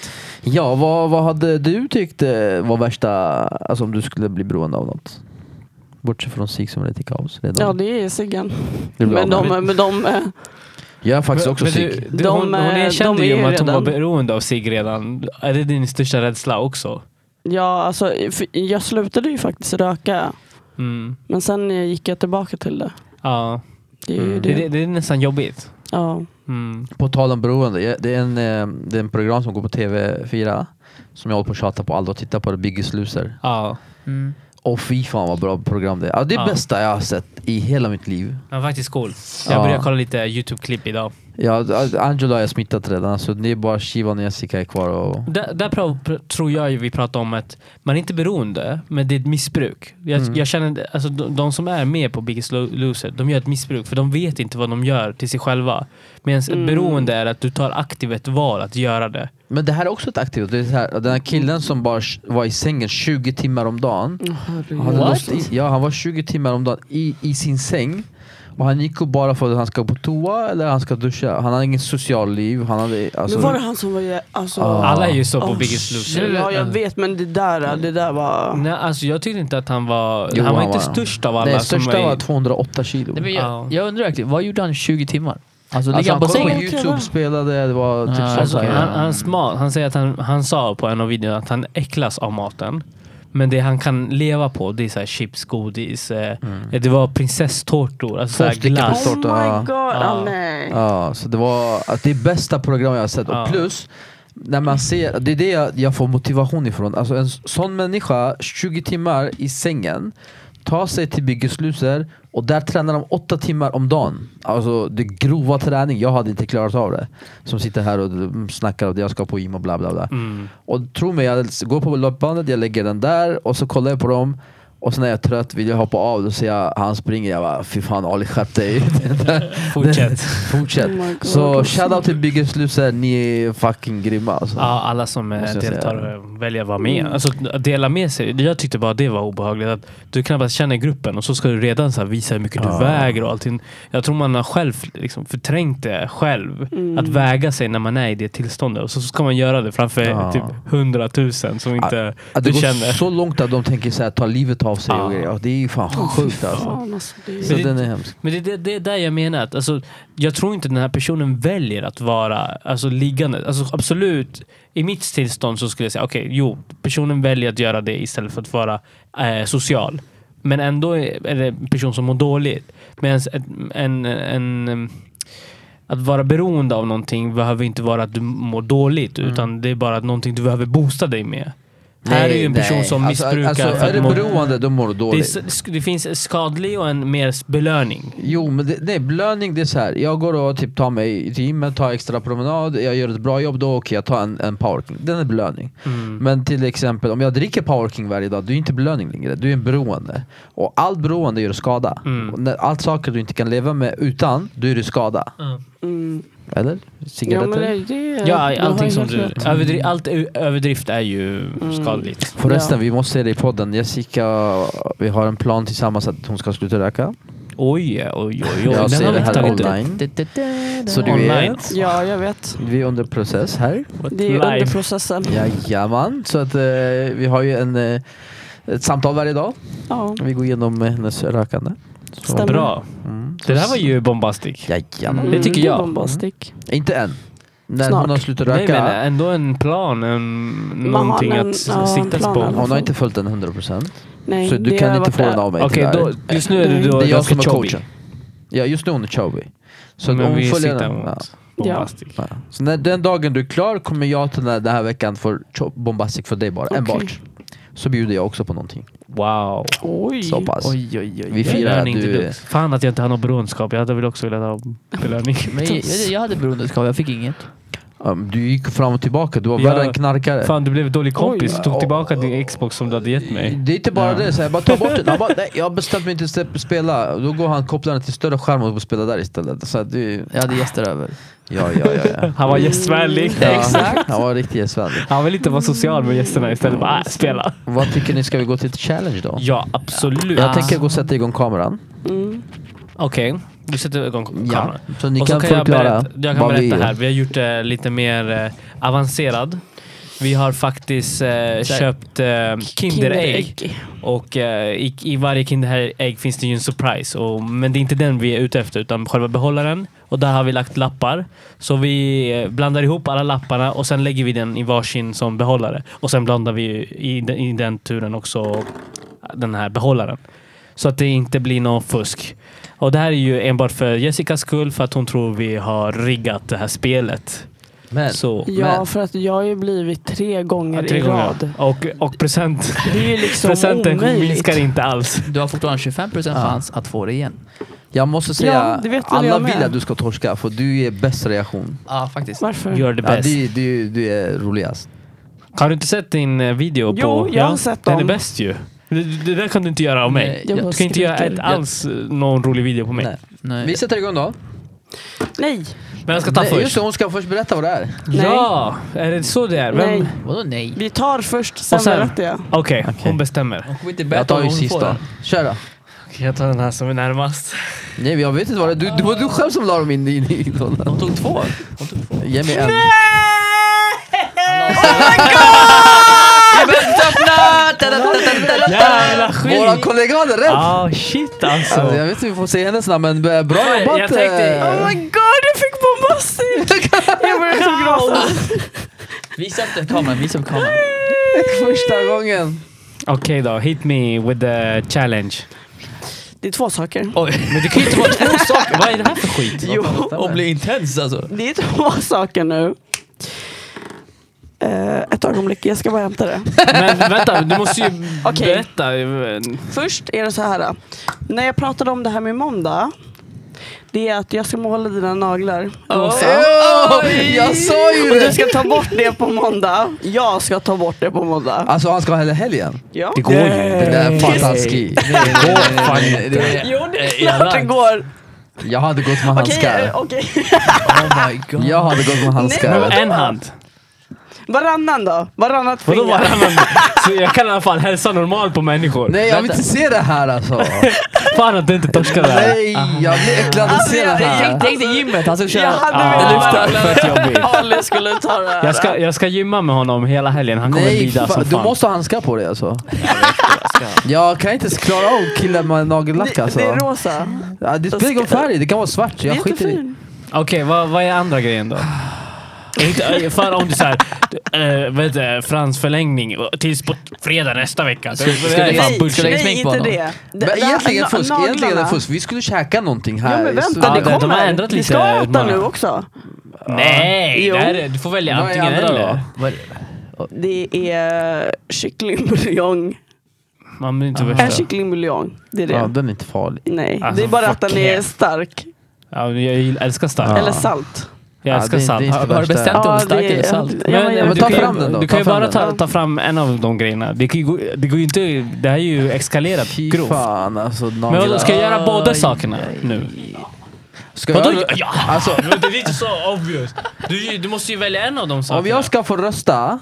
Speaker 2: Ja, vad, vad hade du tyckt eh, var värsta, alltså om du skulle bli beroende av något? Bortsett från SIG som är lite kaos redan.
Speaker 1: Ja, det är ciggen.
Speaker 2: Det blir
Speaker 1: Men
Speaker 2: av
Speaker 1: de,
Speaker 2: med.
Speaker 1: men de, eh,
Speaker 2: Jag är faktiskt
Speaker 4: Men-
Speaker 2: också
Speaker 4: men du-
Speaker 2: SIG.
Speaker 4: du-
Speaker 1: De,
Speaker 4: Hon, hon
Speaker 1: eh,
Speaker 4: erkände
Speaker 1: de
Speaker 4: ju
Speaker 1: är
Speaker 4: att hon var
Speaker 1: redan-
Speaker 4: beroende av sig redan. Är det din största rädsla också?
Speaker 1: ja, alltså, för jag slutade ju faktiskt röka.
Speaker 4: Mm.
Speaker 1: Men sen eh, gick jag tillbaka till det.
Speaker 4: Ja.
Speaker 1: Det är ju
Speaker 2: Mm.
Speaker 4: Det,
Speaker 1: det.
Speaker 4: det, det är nästan jobbigt.
Speaker 1: Ja.
Speaker 4: Mm.
Speaker 2: På tal om beroende, jag- det är, en, eh, det är en program som går på TV4 som jag håller på att tjata på. Alla och tittar på det, Biggest Loser.
Speaker 4: Ja.
Speaker 5: Mm.
Speaker 2: Och fy fan vad bra program det är. Alltså, det är
Speaker 4: Ja.
Speaker 2: bästa jag har sett i hela mitt liv.
Speaker 4: Den var faktiskt cool. Jag
Speaker 2: Ja.
Speaker 4: började kolla lite YouTube-klipp idag.
Speaker 2: Ja, Angela har jag smittat redan, så det är bara Shivan och Jessica är kvar. Och...
Speaker 4: Där, där prav, pr- tror jag ju vi pratar om att man är inte beroende, men det är ett missbruk. Jag,
Speaker 2: Mm.
Speaker 4: jag känner, alltså, de, de som är med på Biggest Lo- Loser, de gör ett missbruk för de vet inte vad de gör till sig själva. Medan
Speaker 1: Mm.
Speaker 4: ett beroende är att du tar aktivt ett val att göra det.
Speaker 2: Men det här är också ett aktivt. Det är så här, den här killen som bara sh- var i sängen 20 timmar om dagen.
Speaker 1: Åh, herregud.
Speaker 2: Han, hade
Speaker 5: What?
Speaker 2: låst in, ja, han var 20 timmar om dagen i, i sin säng Och han gick och bara för att han ska på toa eller han ska duscha. Han hade inget social liv. Han hade, alltså,
Speaker 1: Men var det han som var... jä- Alltså,
Speaker 2: Ja. Mm.
Speaker 4: Alla är ju så på
Speaker 1: Oh,
Speaker 4: Biggest Loser.
Speaker 1: shit. Ja, jag vet men det där, eh, det där var...
Speaker 4: Nej, alltså jag tyckte inte att han var...
Speaker 2: Jo,
Speaker 4: han var
Speaker 2: han
Speaker 4: inte
Speaker 2: var-
Speaker 4: störst av alla.
Speaker 2: nej,
Speaker 4: som
Speaker 2: största
Speaker 4: i-
Speaker 2: var 208 kilo.
Speaker 5: Nej, men
Speaker 4: Ja.
Speaker 5: jag, jag undrar verkligen, vad gjorde han 20 timmar? Alltså, ligger
Speaker 2: alltså,
Speaker 5: han
Speaker 2: han
Speaker 5: på
Speaker 2: kollade
Speaker 5: sängen?
Speaker 2: på Youtube, spelade, det var typ
Speaker 5: Ah,
Speaker 2: sånt
Speaker 4: Alltså,
Speaker 5: okej.
Speaker 2: grejer.
Speaker 4: han, han, är smart. han säger att han, han sa på en av videorna att han äcklas av maten. Men det han kan leva på det är så här chips, godis. Eh, Det var prinsesstårtor, alltså så här
Speaker 2: Mm. Två stycken
Speaker 4: glass.
Speaker 1: Oh
Speaker 2: Stort,
Speaker 1: my
Speaker 2: ja.
Speaker 1: god,
Speaker 4: Ja.
Speaker 1: ah, nej.
Speaker 2: Ja, så det var att det är bästa program jag har sett.
Speaker 4: Ja.
Speaker 2: Och plus, när man ser, det är det jag, jag får motivation ifrån. Alltså en sån människa, 20 timmar i sängen, tar sig till Biggest Loser och där tränar de 8 timmar om dagen. Alltså det är grova träning, jag hade inte klarat av det. Som sitter här och mm, snackar om det, jag ska på gym och bla bla bla.
Speaker 4: Mm.
Speaker 2: Och tro mig, jag går på löpbandet, jag lägger den där och så kollar jag på dem och sen när jag är trött vill jag hoppa av, då ser jag han springer, jag bara fy fan Ali skärp dig. <laughs>
Speaker 4: <laughs> Fortsätt.
Speaker 2: Fortsätt.
Speaker 1: Oh my God.
Speaker 2: så shoutout till Biggest Loser, ni är fucking grymma alltså.
Speaker 4: Ja, alla som eh,
Speaker 2: Måste jag
Speaker 4: deltar eh, väljer att vara med. Alltså att dela med sig. Jag tyckte bara det var obehagligt. Att du knappast känner gruppen och så ska du redan så här visa hur mycket
Speaker 2: Ja.
Speaker 4: du väger och allting. Jag tror man har själv liksom förträngt det själv. Att väga sig när man är i det tillståndet. Och så ska man göra det framför
Speaker 2: Ja.
Speaker 4: typ hundratusen som inte
Speaker 2: Att det
Speaker 4: du
Speaker 2: går
Speaker 4: känner.
Speaker 2: så långt att de tänker så här, ta livet av sig
Speaker 4: Ja.
Speaker 2: och grejer. Ja, Det är ju fan sjukt alltså.
Speaker 1: Oh, Fan, alltså, det är...
Speaker 2: Så
Speaker 4: Men det-
Speaker 2: den är hemsk.
Speaker 4: Men det, det, det är där jag menar. Att, alltså, jag tror inte den här personen väljer att vara alltså, liggande. Alltså, absolut, i mitt tillstånd så skulle jag säga okej, jo, personen väljer att göra det istället för att vara eh, social. Men ändå är är det en person som mår dåligt. Medan en, en, en, em, att vara beroende av någonting behöver inte vara att du mår dåligt.
Speaker 2: Mm.
Speaker 4: Utan det är bara att någonting du behöver boosta dig med. här är ju en
Speaker 2: Nej,
Speaker 4: person
Speaker 2: nej.
Speaker 4: som
Speaker 2: Alltså,
Speaker 4: missbrukar.
Speaker 2: Alltså,
Speaker 4: för
Speaker 2: är
Speaker 4: att
Speaker 2: det
Speaker 4: må-
Speaker 2: beroende, då mår du
Speaker 4: det, är,
Speaker 2: dåligt.
Speaker 4: s- det finns skadlig och en mer belöning.
Speaker 2: Jo men det, nej, belöning det är så här. jag går och typ tar mig till gymmet, tar extra promenad, jag gör ett bra jobb då, okej jag tar en, en powerking. Den är belöning.
Speaker 4: Mm.
Speaker 2: Men till exempel om jag dricker powerking varje dag, du är inte belöning längre, du är en beroende. Och allt beroende gör skada.
Speaker 4: Mm.
Speaker 2: Och när- Allt saker du inte kan leva med utan, då är det skada.
Speaker 1: Mm.
Speaker 2: Eller?
Speaker 1: Ja,
Speaker 2: Cigaretter?
Speaker 1: men det, det,
Speaker 4: Ja,
Speaker 1: du har
Speaker 4: allting som
Speaker 1: helt
Speaker 4: du...
Speaker 1: rätt. Mm.
Speaker 4: Överdri- allt ö- överdrift är ju skadligt.
Speaker 2: Förresten,
Speaker 1: Ja.
Speaker 2: vi måste säga det i podden. Jessica, vi har en plan tillsammans att hon ska sluta röka.
Speaker 4: Oj, oj, oj. oj.
Speaker 2: Jag
Speaker 4: Den
Speaker 2: ser
Speaker 4: har
Speaker 2: det
Speaker 4: vi inte
Speaker 2: här
Speaker 4: tagit upp.
Speaker 2: online.
Speaker 5: Så
Speaker 2: Så
Speaker 5: du...
Speaker 2: du
Speaker 4: Online.
Speaker 2: vet,
Speaker 1: Ja, jag vet.
Speaker 2: vi är under process här.
Speaker 1: Det är ju
Speaker 4: Live.
Speaker 1: under processen.
Speaker 2: Jajamän, så att eh, vi har ju en, eh, ett samtal varje dag.
Speaker 1: Ja.
Speaker 2: Vi går igenom eh, hennes rökande.
Speaker 1: Stämmer.
Speaker 4: Bra.
Speaker 2: Mm.
Speaker 4: Det där var ju bombastic.
Speaker 2: Jajamän.
Speaker 4: Det tycker
Speaker 1: Mm,
Speaker 4: jag.
Speaker 1: bombastic.
Speaker 2: Inte än. När
Speaker 1: Snart.
Speaker 2: hon har slutat
Speaker 4: Nej,
Speaker 2: röka.
Speaker 4: men ändå en plan. En,
Speaker 1: har
Speaker 4: någonting
Speaker 1: en-
Speaker 4: att
Speaker 1: ja, en
Speaker 4: siktas
Speaker 1: plan i alla
Speaker 4: på.
Speaker 1: fall.
Speaker 2: Hon har inte följt den 100%.
Speaker 1: Nej,
Speaker 2: så du
Speaker 1: det
Speaker 2: kan
Speaker 1: har
Speaker 2: inte
Speaker 1: varit
Speaker 2: få den
Speaker 1: där.
Speaker 2: av mig
Speaker 4: Okej,
Speaker 2: tyvärr.
Speaker 4: då, just nu är du då
Speaker 2: Det är jag
Speaker 4: ganska
Speaker 2: som är
Speaker 4: chubby.
Speaker 2: coachen. Ja, just nu är hon chubby. Så att
Speaker 4: Men
Speaker 2: om
Speaker 4: vi
Speaker 2: hon följer
Speaker 4: siktar
Speaker 2: den. Ja.
Speaker 4: mot bombastic.
Speaker 2: Ja. Så när den dagen du är klar kommer jag till den här, den här veckan för cho- bombastic för dig bara,
Speaker 1: Okej.
Speaker 2: enbart. Så bjuder jag också på någonting.
Speaker 4: Wow.
Speaker 1: Oj.
Speaker 2: Så pass.
Speaker 5: Oj, oj, oj.
Speaker 2: Vi
Speaker 5: Jag-
Speaker 2: firar att
Speaker 4: Belöning till
Speaker 2: du...
Speaker 4: du. Fan att jag inte har något beroendeskap. Jag hade väl också velat ha belöning.
Speaker 5: Men jag, jag, jag hade beroendeskap, jag fick inget.
Speaker 2: Um, du gick fram och tillbaka, du var
Speaker 4: Ja.
Speaker 2: värre än knarkare.
Speaker 4: Fan, du blev en dålig kompis.
Speaker 2: Oj.
Speaker 4: Du tog tillbaka din Xbox som du hade gett mig.
Speaker 2: Det är inte bara det, så jag bara ta bort den. Han
Speaker 4: <laughs>
Speaker 2: bara, nej, jag har bestämt mig inte att spela. Då går han kopplar den till större skärm och spelar där istället. Så att det,
Speaker 5: Jag hade gäster över.
Speaker 2: ja, ja, ja,
Speaker 4: <laughs>
Speaker 2: ja.
Speaker 4: Han var gästvänlig.
Speaker 2: ja. Exakt! Han var riktigt gästvänlig.
Speaker 4: Han vill inte vara social med gästerna istället. Bara, äh, spela.
Speaker 2: Vad tycker ni, ska vi gå till ett challenge då?
Speaker 4: Ja, absolut.
Speaker 2: Jag tänker gå och sätta igång kameran.
Speaker 1: Mm.
Speaker 4: Okej, du sätter igång kameran.
Speaker 2: Så ni
Speaker 4: Och
Speaker 2: kan
Speaker 4: så kan jag
Speaker 2: förklara
Speaker 4: berätta, jag kan
Speaker 2: vad vi
Speaker 4: berätta
Speaker 2: gör.
Speaker 4: här. Vi har gjort det lite mer eh, avancerad. Vi har faktiskt eh, köpt eh, Kinderägg. Och eh, i, i varje Kinderägg finns det ju en surprise. Och, men det är inte den vi är ute efter utan själva behållaren. Och där har vi lagt lappar. Så vi eh, blandar ihop alla lapparna och sen lägger vi den i varsin som behållare. Och sen blandar vi ju i, den- i den turen också den här behållaren. Så att det inte blir någon fusk. Och det här är ju enbart för Jessicas skull för att hon tror vi har riggat det här spelet.
Speaker 2: Men,
Speaker 4: Så.
Speaker 1: Ja,
Speaker 2: Men-
Speaker 1: för att jag har ju blivit tre gånger
Speaker 4: Tre
Speaker 1: i
Speaker 4: gånger.
Speaker 1: rad.
Speaker 4: Och, och present.
Speaker 1: Det är ju liksom
Speaker 4: Presenten
Speaker 1: omöjligt.
Speaker 4: minskar inte alls.
Speaker 5: Du har fortfarande 25% chans att få det igen.
Speaker 2: jag måste säga,
Speaker 1: Ja, det vet väl
Speaker 2: alla
Speaker 1: jag med.
Speaker 2: vill att du ska torska för du är bäst reaktion.
Speaker 5: Ja, faktiskt.
Speaker 1: Varför?
Speaker 4: Gör det
Speaker 2: Ja,
Speaker 4: bäst.
Speaker 2: du, du, du är roligast.
Speaker 4: Har du inte sett din eh, video
Speaker 1: Jo,
Speaker 4: på...
Speaker 1: jag har sett
Speaker 4: Den är
Speaker 1: dem.
Speaker 4: bäst ju. Det, det där kan du inte göra av mig.
Speaker 5: Nej,
Speaker 1: Jag
Speaker 5: jag-
Speaker 1: bara
Speaker 4: du kan inte göra
Speaker 1: skriker.
Speaker 4: ett, alls eh, någon rolig video på mig.
Speaker 2: Nej.
Speaker 5: Nej.
Speaker 2: Vi sätter igång då.
Speaker 1: Nej.
Speaker 4: Men jag ska ta
Speaker 2: Nej, Just
Speaker 4: först.
Speaker 2: det, hon ska först berätta vad det är.
Speaker 1: Nej.
Speaker 4: Ja! Är det så det är? Vem?
Speaker 1: Nej.
Speaker 5: Vadå nej?
Speaker 1: Vi tar först, sen
Speaker 4: sen-
Speaker 1: berättar jag.
Speaker 4: Okej,
Speaker 2: Okej.
Speaker 4: hon bestämmer.
Speaker 5: Hon kommer inte
Speaker 2: Jag
Speaker 5: berätta
Speaker 2: tar
Speaker 5: om
Speaker 2: ju
Speaker 5: hon
Speaker 2: sist
Speaker 5: får
Speaker 2: då.
Speaker 5: den.
Speaker 2: Kör då.
Speaker 4: Jag tar den här som är närmast.
Speaker 2: Nej jag vet inte vad det du, Det var du själv som la dem in i din låda.
Speaker 5: De tog två. De tog två.
Speaker 2: Ge mig en.
Speaker 1: Oh
Speaker 4: Jävla skit!
Speaker 2: Våra kollega hade rätt!
Speaker 4: Ah shit alltså.
Speaker 2: Alltså, jag vet inte hur vi får se hennes namn men eh, bra
Speaker 4: Nej,
Speaker 2: jobbat!
Speaker 4: jag tänkte-
Speaker 2: eh.
Speaker 1: Oh my god, jag fick bombastik! Jag började så gråta.
Speaker 5: Visa upp den kameran, visa upp kameran.
Speaker 2: Första gången.
Speaker 4: Okej då, hit me with the challenge.
Speaker 1: Det är två saker.
Speaker 5: <laughs> Oj.
Speaker 4: Men det kan ju inte vara två saker. Vad är det här för skit?
Speaker 5: <laughs> Jo, och bli intens alltså.
Speaker 1: Det är två <laughs> saker nu. Eh, ett ögonblick, jag ska bara hämta
Speaker 4: <laughs>
Speaker 1: det.
Speaker 4: Men vänta, du måste ju
Speaker 1: Okej.
Speaker 4: berätta. eh,
Speaker 1: Först är det så här. När jag pratade om det här med måndag. Det är att jag ska måla dina naglar rosa.
Speaker 2: Oj! Jag sa ju
Speaker 1: Och du
Speaker 2: det!
Speaker 1: ska ta bort det på måndag. Jag ska ta bort det på måndag.
Speaker 2: Alltså han ska ha hela helgen.
Speaker 1: Ja.
Speaker 4: går ju
Speaker 2: Det
Speaker 4: inte.
Speaker 2: där är fan
Speaker 1: Nej.
Speaker 2: taskigt.
Speaker 1: Jo, det är klart det går.
Speaker 2: Jag hade gått med
Speaker 1: Okej, eh,
Speaker 2: handskar.
Speaker 1: okej.
Speaker 5: Oh my god.
Speaker 2: Jag hade gått med handskar.
Speaker 4: En hand.
Speaker 1: Varannan då? Varannat
Speaker 4: Vadå
Speaker 1: finger?
Speaker 4: varannan? Så jag kan i alla fall hälsa normalt på människor.
Speaker 2: Nej jag vill inte se det
Speaker 1: <laughs>
Speaker 2: här alltså.
Speaker 4: Fan att du inte torskar det här.
Speaker 2: Nej jag blir äcklad
Speaker 1: Alltså,
Speaker 2: att se det här.
Speaker 5: Tänk dig <laughs> gymmet, han ska
Speaker 1: Jag
Speaker 5: köra.
Speaker 1: hade
Speaker 4: Ah.
Speaker 1: velat
Speaker 4: Det luktar fett jobbigt.
Speaker 1: vara Ali skulle ta det här.
Speaker 4: Jag ska, jag ska gymma med honom hela helgen. Han kommer
Speaker 2: Nej,
Speaker 4: lida som
Speaker 2: fan, du
Speaker 4: fan.
Speaker 2: måste ha handskar på dig alltså. Jag kan inte ens klara av killar med nagellack
Speaker 1: det,
Speaker 2: alltså.
Speaker 1: det är rosa.
Speaker 2: Ja, Det spelar ingen färg, det kan vara svart. Jag skiter i.
Speaker 1: Jättefin.
Speaker 4: Okej, vad, vad är andra grejen då? Är inte- För om du såhär, äh, vet du, Frans förlängning tills på fredag nästa vecka.
Speaker 5: Ska- ska
Speaker 4: Det här är
Speaker 5: vi-
Speaker 4: fan
Speaker 1: Nej,
Speaker 5: bullshit. Ska lägga
Speaker 1: nej
Speaker 5: smink på
Speaker 1: inte
Speaker 5: honom?
Speaker 1: det.
Speaker 2: Men
Speaker 1: Det- det-
Speaker 2: egentligen
Speaker 1: na-
Speaker 2: fusk, egentligen är det
Speaker 1: naglarna.
Speaker 2: fusk. Vi skulle käka någonting
Speaker 1: Ja
Speaker 2: här.
Speaker 1: men
Speaker 2: i
Speaker 1: vänta,
Speaker 2: studion.
Speaker 4: Ja,
Speaker 1: det
Speaker 4: de har
Speaker 1: kommer.
Speaker 4: ändrat
Speaker 1: Vi
Speaker 4: lite
Speaker 1: ska äta
Speaker 4: utmaningar.
Speaker 1: nu också.
Speaker 4: Nej!
Speaker 1: Jo.
Speaker 4: Det här är, du får välja
Speaker 2: Vad är
Speaker 4: antingen
Speaker 2: andra
Speaker 4: eller.
Speaker 2: då?
Speaker 1: Det är kycklingbuljong.
Speaker 4: Man blir
Speaker 2: Ah.
Speaker 4: inte
Speaker 1: En
Speaker 4: värsta.
Speaker 1: kycklingbuljong. Det är det.
Speaker 2: Ja, den är inte farlig.
Speaker 1: Nej,
Speaker 4: Alltså,
Speaker 1: det är bara att den
Speaker 4: fuck
Speaker 1: är
Speaker 4: yeah.
Speaker 1: stark.
Speaker 4: Ja, men jag gillar- älskar stark.
Speaker 1: Eller salt.
Speaker 4: Jag älskar
Speaker 2: Ja, det-
Speaker 4: salt.
Speaker 2: det är
Speaker 5: Har har du bestämt dig om
Speaker 1: Ja,
Speaker 5: stark
Speaker 1: det-
Speaker 5: eller salt?
Speaker 1: Ja, men jag-
Speaker 2: men
Speaker 4: du
Speaker 2: ta
Speaker 4: kan ju-
Speaker 2: fram den då,
Speaker 4: Du
Speaker 2: ta
Speaker 4: kan ju
Speaker 2: fram
Speaker 4: bara
Speaker 2: den.
Speaker 4: ta, ta fram en av de grejerna. Det, kan ju, gå- det går ju inte... Det här är ju eskalerat
Speaker 2: Fy
Speaker 4: grovt.
Speaker 2: fan alltså.
Speaker 4: Men vadå,
Speaker 2: naglar.
Speaker 4: ska jag göra båda
Speaker 5: Aj,
Speaker 4: sakerna
Speaker 5: aj.
Speaker 4: nu?
Speaker 2: Ska
Speaker 4: Vadå?
Speaker 2: jag-
Speaker 4: Ja!
Speaker 2: Alltså,
Speaker 4: Men det är inte så obvious. Du, du måste ju välja en av de sakerna.
Speaker 2: om jag ska få rösta,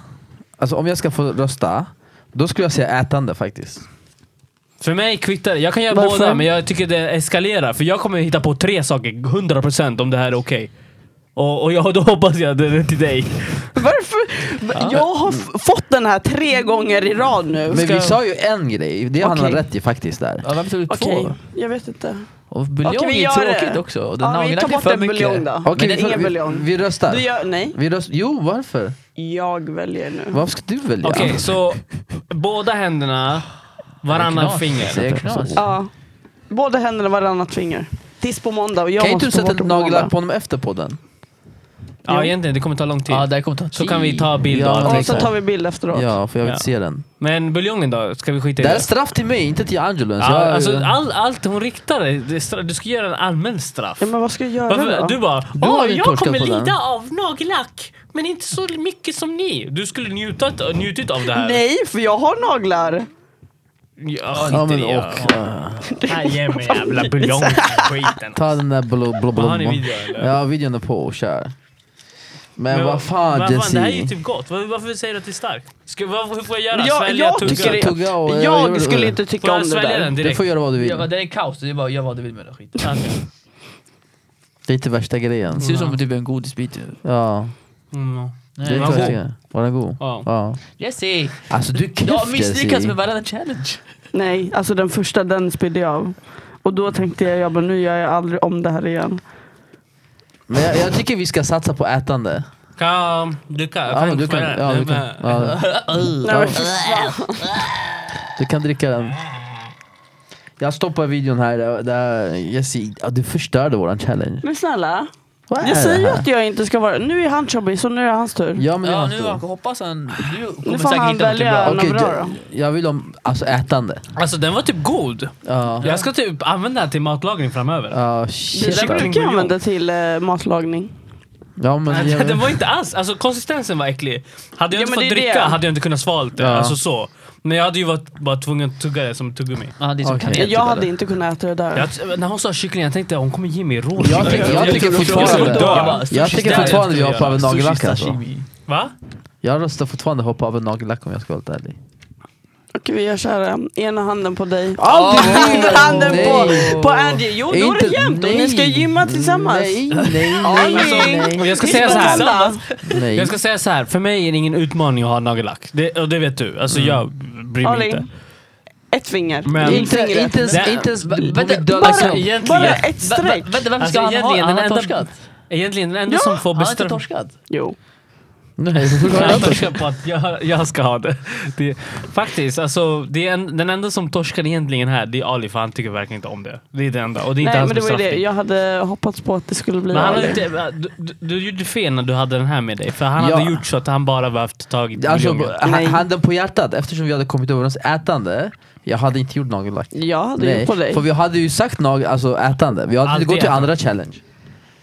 Speaker 2: alltså om jag ska få rösta, då skulle jag säga ätande faktiskt.
Speaker 4: För mig kvittar det. Jag kan göra
Speaker 1: Varför?
Speaker 4: båda, men jag tycker det eskalerar. För jag kommer hitta på tre saker, 100% om det här är okej. Och, och jag, då hoppas jag det är till dig.
Speaker 1: Varför? Jag har f- fått den här tre gånger i rad nu.
Speaker 2: Men vi sa ju en grej, det har han
Speaker 1: Okej.
Speaker 2: rätt i faktiskt där.
Speaker 5: Ja, varför tog du
Speaker 1: Okej,
Speaker 5: två?
Speaker 1: jag vet inte.
Speaker 5: Och buljong
Speaker 1: Okej, vi
Speaker 5: är
Speaker 1: gör det.
Speaker 5: tråkigt också. Och
Speaker 1: Ja,
Speaker 5: den
Speaker 1: vi
Speaker 5: naglar
Speaker 1: tar
Speaker 5: blir
Speaker 1: bort
Speaker 5: för
Speaker 1: en
Speaker 5: mycket.
Speaker 1: buljong då.
Speaker 2: Okej,
Speaker 1: men
Speaker 2: vi-
Speaker 1: ingen
Speaker 2: vi-
Speaker 1: buljong.
Speaker 2: Vi röstar.
Speaker 1: Du gör, nej,
Speaker 2: Vi röst, jo, varför?
Speaker 1: jag väljer nu.
Speaker 2: Varför ska du välja?
Speaker 4: Okej, så båda händerna, varannan
Speaker 5: knas. Det
Speaker 4: finger.
Speaker 5: är knas.
Speaker 1: Ja. Båda händerna varannat finger. Tills på måndag och jag
Speaker 2: kan inte du
Speaker 1: måste ta
Speaker 2: sätta
Speaker 1: bort
Speaker 2: ett
Speaker 1: det på måndag.
Speaker 2: nagellack på honom efter podden?
Speaker 4: Ja, egentligen. Det kommer ta lång tid.
Speaker 5: Ja, det kommer ta
Speaker 4: Så
Speaker 5: tid.
Speaker 4: kan vi ta bild och
Speaker 2: Ja.
Speaker 4: allt.
Speaker 1: Och så
Speaker 4: liksom.
Speaker 1: tar vi bild efteråt.
Speaker 2: Ja, för jag vill
Speaker 4: Ja.
Speaker 2: inte se den.
Speaker 4: Men buljongen då? Ska vi skita i
Speaker 2: Det här är
Speaker 4: det?
Speaker 2: straff till mig, inte till Angelo. ens.
Speaker 4: Ja,
Speaker 2: Jag-
Speaker 4: alltså, all, allt hon riktar dig, det är stra- du ska göra en allmän straff.
Speaker 1: Ja, men vad ska jag göra
Speaker 4: Varför,
Speaker 1: då?
Speaker 4: du bara
Speaker 2: Du har
Speaker 4: Åh,
Speaker 2: ju
Speaker 4: jag
Speaker 2: torskat
Speaker 4: kommer
Speaker 2: på
Speaker 4: lida
Speaker 2: den."
Speaker 4: av nagellack, men inte så mycket som ni. Du skulle njutat, njutit av det här.
Speaker 1: Nej, för jag har naglar.
Speaker 4: Ja,
Speaker 2: Ja,
Speaker 4: skit i
Speaker 2: men
Speaker 4: det.
Speaker 2: och,
Speaker 4: ja.
Speaker 2: ja.
Speaker 4: Nej, Ge mig
Speaker 2: <laughs>
Speaker 4: jävla buljongskiten.
Speaker 2: Ta den där blå blå blå.
Speaker 4: Har ni
Speaker 2: blå.
Speaker 4: video eller?
Speaker 2: Ja, videon är på och kör. Men,
Speaker 4: Men
Speaker 2: vad fan
Speaker 4: vad fan, Det här är ju
Speaker 2: Jessie?
Speaker 4: typ gott. Var- Varför säger du att det är starkt? Ska, vad, hur får jag göra?
Speaker 1: Jag-
Speaker 4: svälja
Speaker 1: jag
Speaker 4: tugga?
Speaker 1: tycker det-
Speaker 2: Tugga och-
Speaker 1: Jag,
Speaker 2: jag gör det.
Speaker 1: skulle inte tycka
Speaker 4: Får
Speaker 1: om
Speaker 4: jag
Speaker 1: det
Speaker 4: svälja
Speaker 1: där.
Speaker 4: den
Speaker 2: Du
Speaker 4: direkt?
Speaker 2: får göra vad du vill.
Speaker 5: Ja, det är kaos, det är bara gör vad du vill med den skiten.
Speaker 4: Ah, okej.
Speaker 2: Det är inte värsta grejen.
Speaker 5: Det ser ut som typ en godisbit.
Speaker 2: Ja,
Speaker 4: Mm.
Speaker 2: det är
Speaker 5: Nej.
Speaker 4: var
Speaker 2: inte
Speaker 4: god.
Speaker 2: värsta grejen. Var den god?
Speaker 4: Ja.
Speaker 2: Ja.
Speaker 5: Jesse!
Speaker 2: Alltså du är
Speaker 5: Du har
Speaker 2: kräft
Speaker 5: misslyckats
Speaker 2: Jessie.
Speaker 5: med varenda challenge.
Speaker 1: Nej, alltså den första den spydde jag av. Och då tänkte jag, jag bara, nu gör jag aldrig om det här igen.
Speaker 2: Men jag, jag tycker vi ska satsa på ätande.
Speaker 4: Kan, du kan. Jag
Speaker 2: Ja,
Speaker 4: kan
Speaker 2: men
Speaker 4: inte
Speaker 2: du kan,
Speaker 4: svälja den.
Speaker 2: ja,
Speaker 4: Nej,
Speaker 2: du kan,
Speaker 4: men-
Speaker 2: ja,
Speaker 1: Nej, men fy fan.
Speaker 2: du kan dricka den. Jag stoppar videon här där- där Jessie, ja, du förstörde våran challenge.
Speaker 1: Men snälla,
Speaker 2: Vad är
Speaker 1: jag
Speaker 2: det
Speaker 1: säger ju
Speaker 2: här?
Speaker 1: att jag inte ska vara Nu är han chubby, så nu är det hans tur.
Speaker 2: Ja men det
Speaker 5: Ja,
Speaker 2: var
Speaker 5: nu
Speaker 2: stor.
Speaker 5: hoppas han... Du
Speaker 1: Nu
Speaker 5: kommer
Speaker 1: får
Speaker 5: säkert
Speaker 1: han
Speaker 5: hitta något
Speaker 1: välja
Speaker 5: bra.
Speaker 1: något
Speaker 2: Okej,
Speaker 1: bra då.
Speaker 2: jag, jag vill om, alltså ätande.
Speaker 4: Alltså den var typ god.
Speaker 2: Ja.
Speaker 4: Jag ska typ använda den till matlagning framöver.
Speaker 2: Ja,
Speaker 1: Det
Speaker 2: shit.
Speaker 1: där
Speaker 4: Kyckling
Speaker 1: brukar jag
Speaker 4: buljong.
Speaker 1: använda till eh, matlagning.
Speaker 2: Ja,
Speaker 4: <laughs>
Speaker 2: men, jag,
Speaker 4: den var inte alls, alltså konsistensen var äcklig. Hade jag
Speaker 1: Ja,
Speaker 4: inte
Speaker 1: men
Speaker 4: fått
Speaker 1: det är
Speaker 4: dricka
Speaker 1: det.
Speaker 4: hade jag inte kunnat svalt det.
Speaker 2: Ja.
Speaker 4: Alltså så. Men jag hade ju varit bara tvungen att tugga det som tuggummi.
Speaker 5: Ja, det är som
Speaker 2: Okej.
Speaker 5: kanel.
Speaker 1: Jag,
Speaker 5: typ,
Speaker 1: hade
Speaker 5: eller?
Speaker 1: inte kunnat äta det där.
Speaker 4: Jag, när hon sa kyckling, jag tänkte hon kommer ge mig rå
Speaker 2: Jag
Speaker 4: kyckling.
Speaker 2: tycker- jag tycker
Speaker 4: skulle-
Speaker 2: fortfarande-
Speaker 4: skulle dö.
Speaker 5: Jag bara,
Speaker 2: jag
Speaker 5: sushi
Speaker 2: tycker
Speaker 4: där
Speaker 2: fortfarande vi
Speaker 4: jag
Speaker 2: hoppar
Speaker 4: skulle
Speaker 2: över
Speaker 5: Sushi
Speaker 2: nagellack alltså.
Speaker 5: sashimi.
Speaker 4: Va?
Speaker 2: Jag röstar fortfarande hoppa över nagellack om jag ska vara helt ärlig.
Speaker 1: Okej, ska vi göra så här. eh, Ena handen på dig. Ja, andra handen på,
Speaker 2: nej.
Speaker 1: på Angie. Jo, då är det jämnt. Och ni ska gymma tillsammans. <laughs>
Speaker 2: Nej, nej,
Speaker 1: Ja,
Speaker 2: nej.
Speaker 1: ni-
Speaker 4: Och Alltså, jag ska
Speaker 1: ni
Speaker 4: säga så här.
Speaker 1: tillsammans.
Speaker 2: nej.
Speaker 4: Jag ska säga så här. för mig är det ingen utmaning att ha nagellack. Det, och det vet du.
Speaker 2: Mm.
Speaker 4: Alltså jag bryr mig
Speaker 1: Arling,
Speaker 4: inte.
Speaker 1: ett finger.
Speaker 4: Men-
Speaker 1: Lillfingret.
Speaker 2: Inte, inte ens,
Speaker 4: Det-
Speaker 2: inte ens
Speaker 5: Va-
Speaker 2: Bobby
Speaker 5: vänta,
Speaker 2: Dunn-
Speaker 1: bara-
Speaker 2: Alltså,
Speaker 4: egentligen-
Speaker 1: Bara ett streck.
Speaker 5: Va- Vänta, varför
Speaker 4: Alltså,
Speaker 5: ska han ha?
Speaker 4: egentligen,
Speaker 5: Han
Speaker 4: den
Speaker 5: har
Speaker 4: enda-
Speaker 5: torskat.
Speaker 4: Egentligen den enda
Speaker 1: Ja,
Speaker 4: som får
Speaker 5: Han har inte
Speaker 4: bestraff...
Speaker 5: torskat.
Speaker 1: Jo.
Speaker 2: <laughs> Nej, Alltså, varför ska
Speaker 4: Jag
Speaker 2: han ha torskat?
Speaker 4: har torskat på att jag, jag ska ha det. det faktiskt, alltså, det är en, den enda som torskar egentligen här, det är Ali för han tycker verkligen inte om det. Det är det enda. Och det är inte
Speaker 1: Nej,
Speaker 4: hans
Speaker 1: men det var ju det.
Speaker 4: bestraffning.
Speaker 1: Jag hade hoppats på att det skulle bli
Speaker 4: Men han hade
Speaker 1: Ali.
Speaker 4: inte, du, du, du gjorde fel när du hade den här med dig. För han
Speaker 2: Ja.
Speaker 4: hade gjort så att han bara behövt tagit
Speaker 2: Alltså,
Speaker 4: buljongen.
Speaker 2: ha-
Speaker 1: Nej.
Speaker 2: handen på hjärtat, eftersom vi hade kommit överens ätande, jag hade inte gjort nagellack.
Speaker 1: Jag hade
Speaker 2: Nej,
Speaker 1: gjort på dig.
Speaker 2: för vi hade ju sagt nag- alltså ätande. Vi hade
Speaker 4: Alltid
Speaker 2: inte gått till
Speaker 4: ätande.
Speaker 2: andra challenge.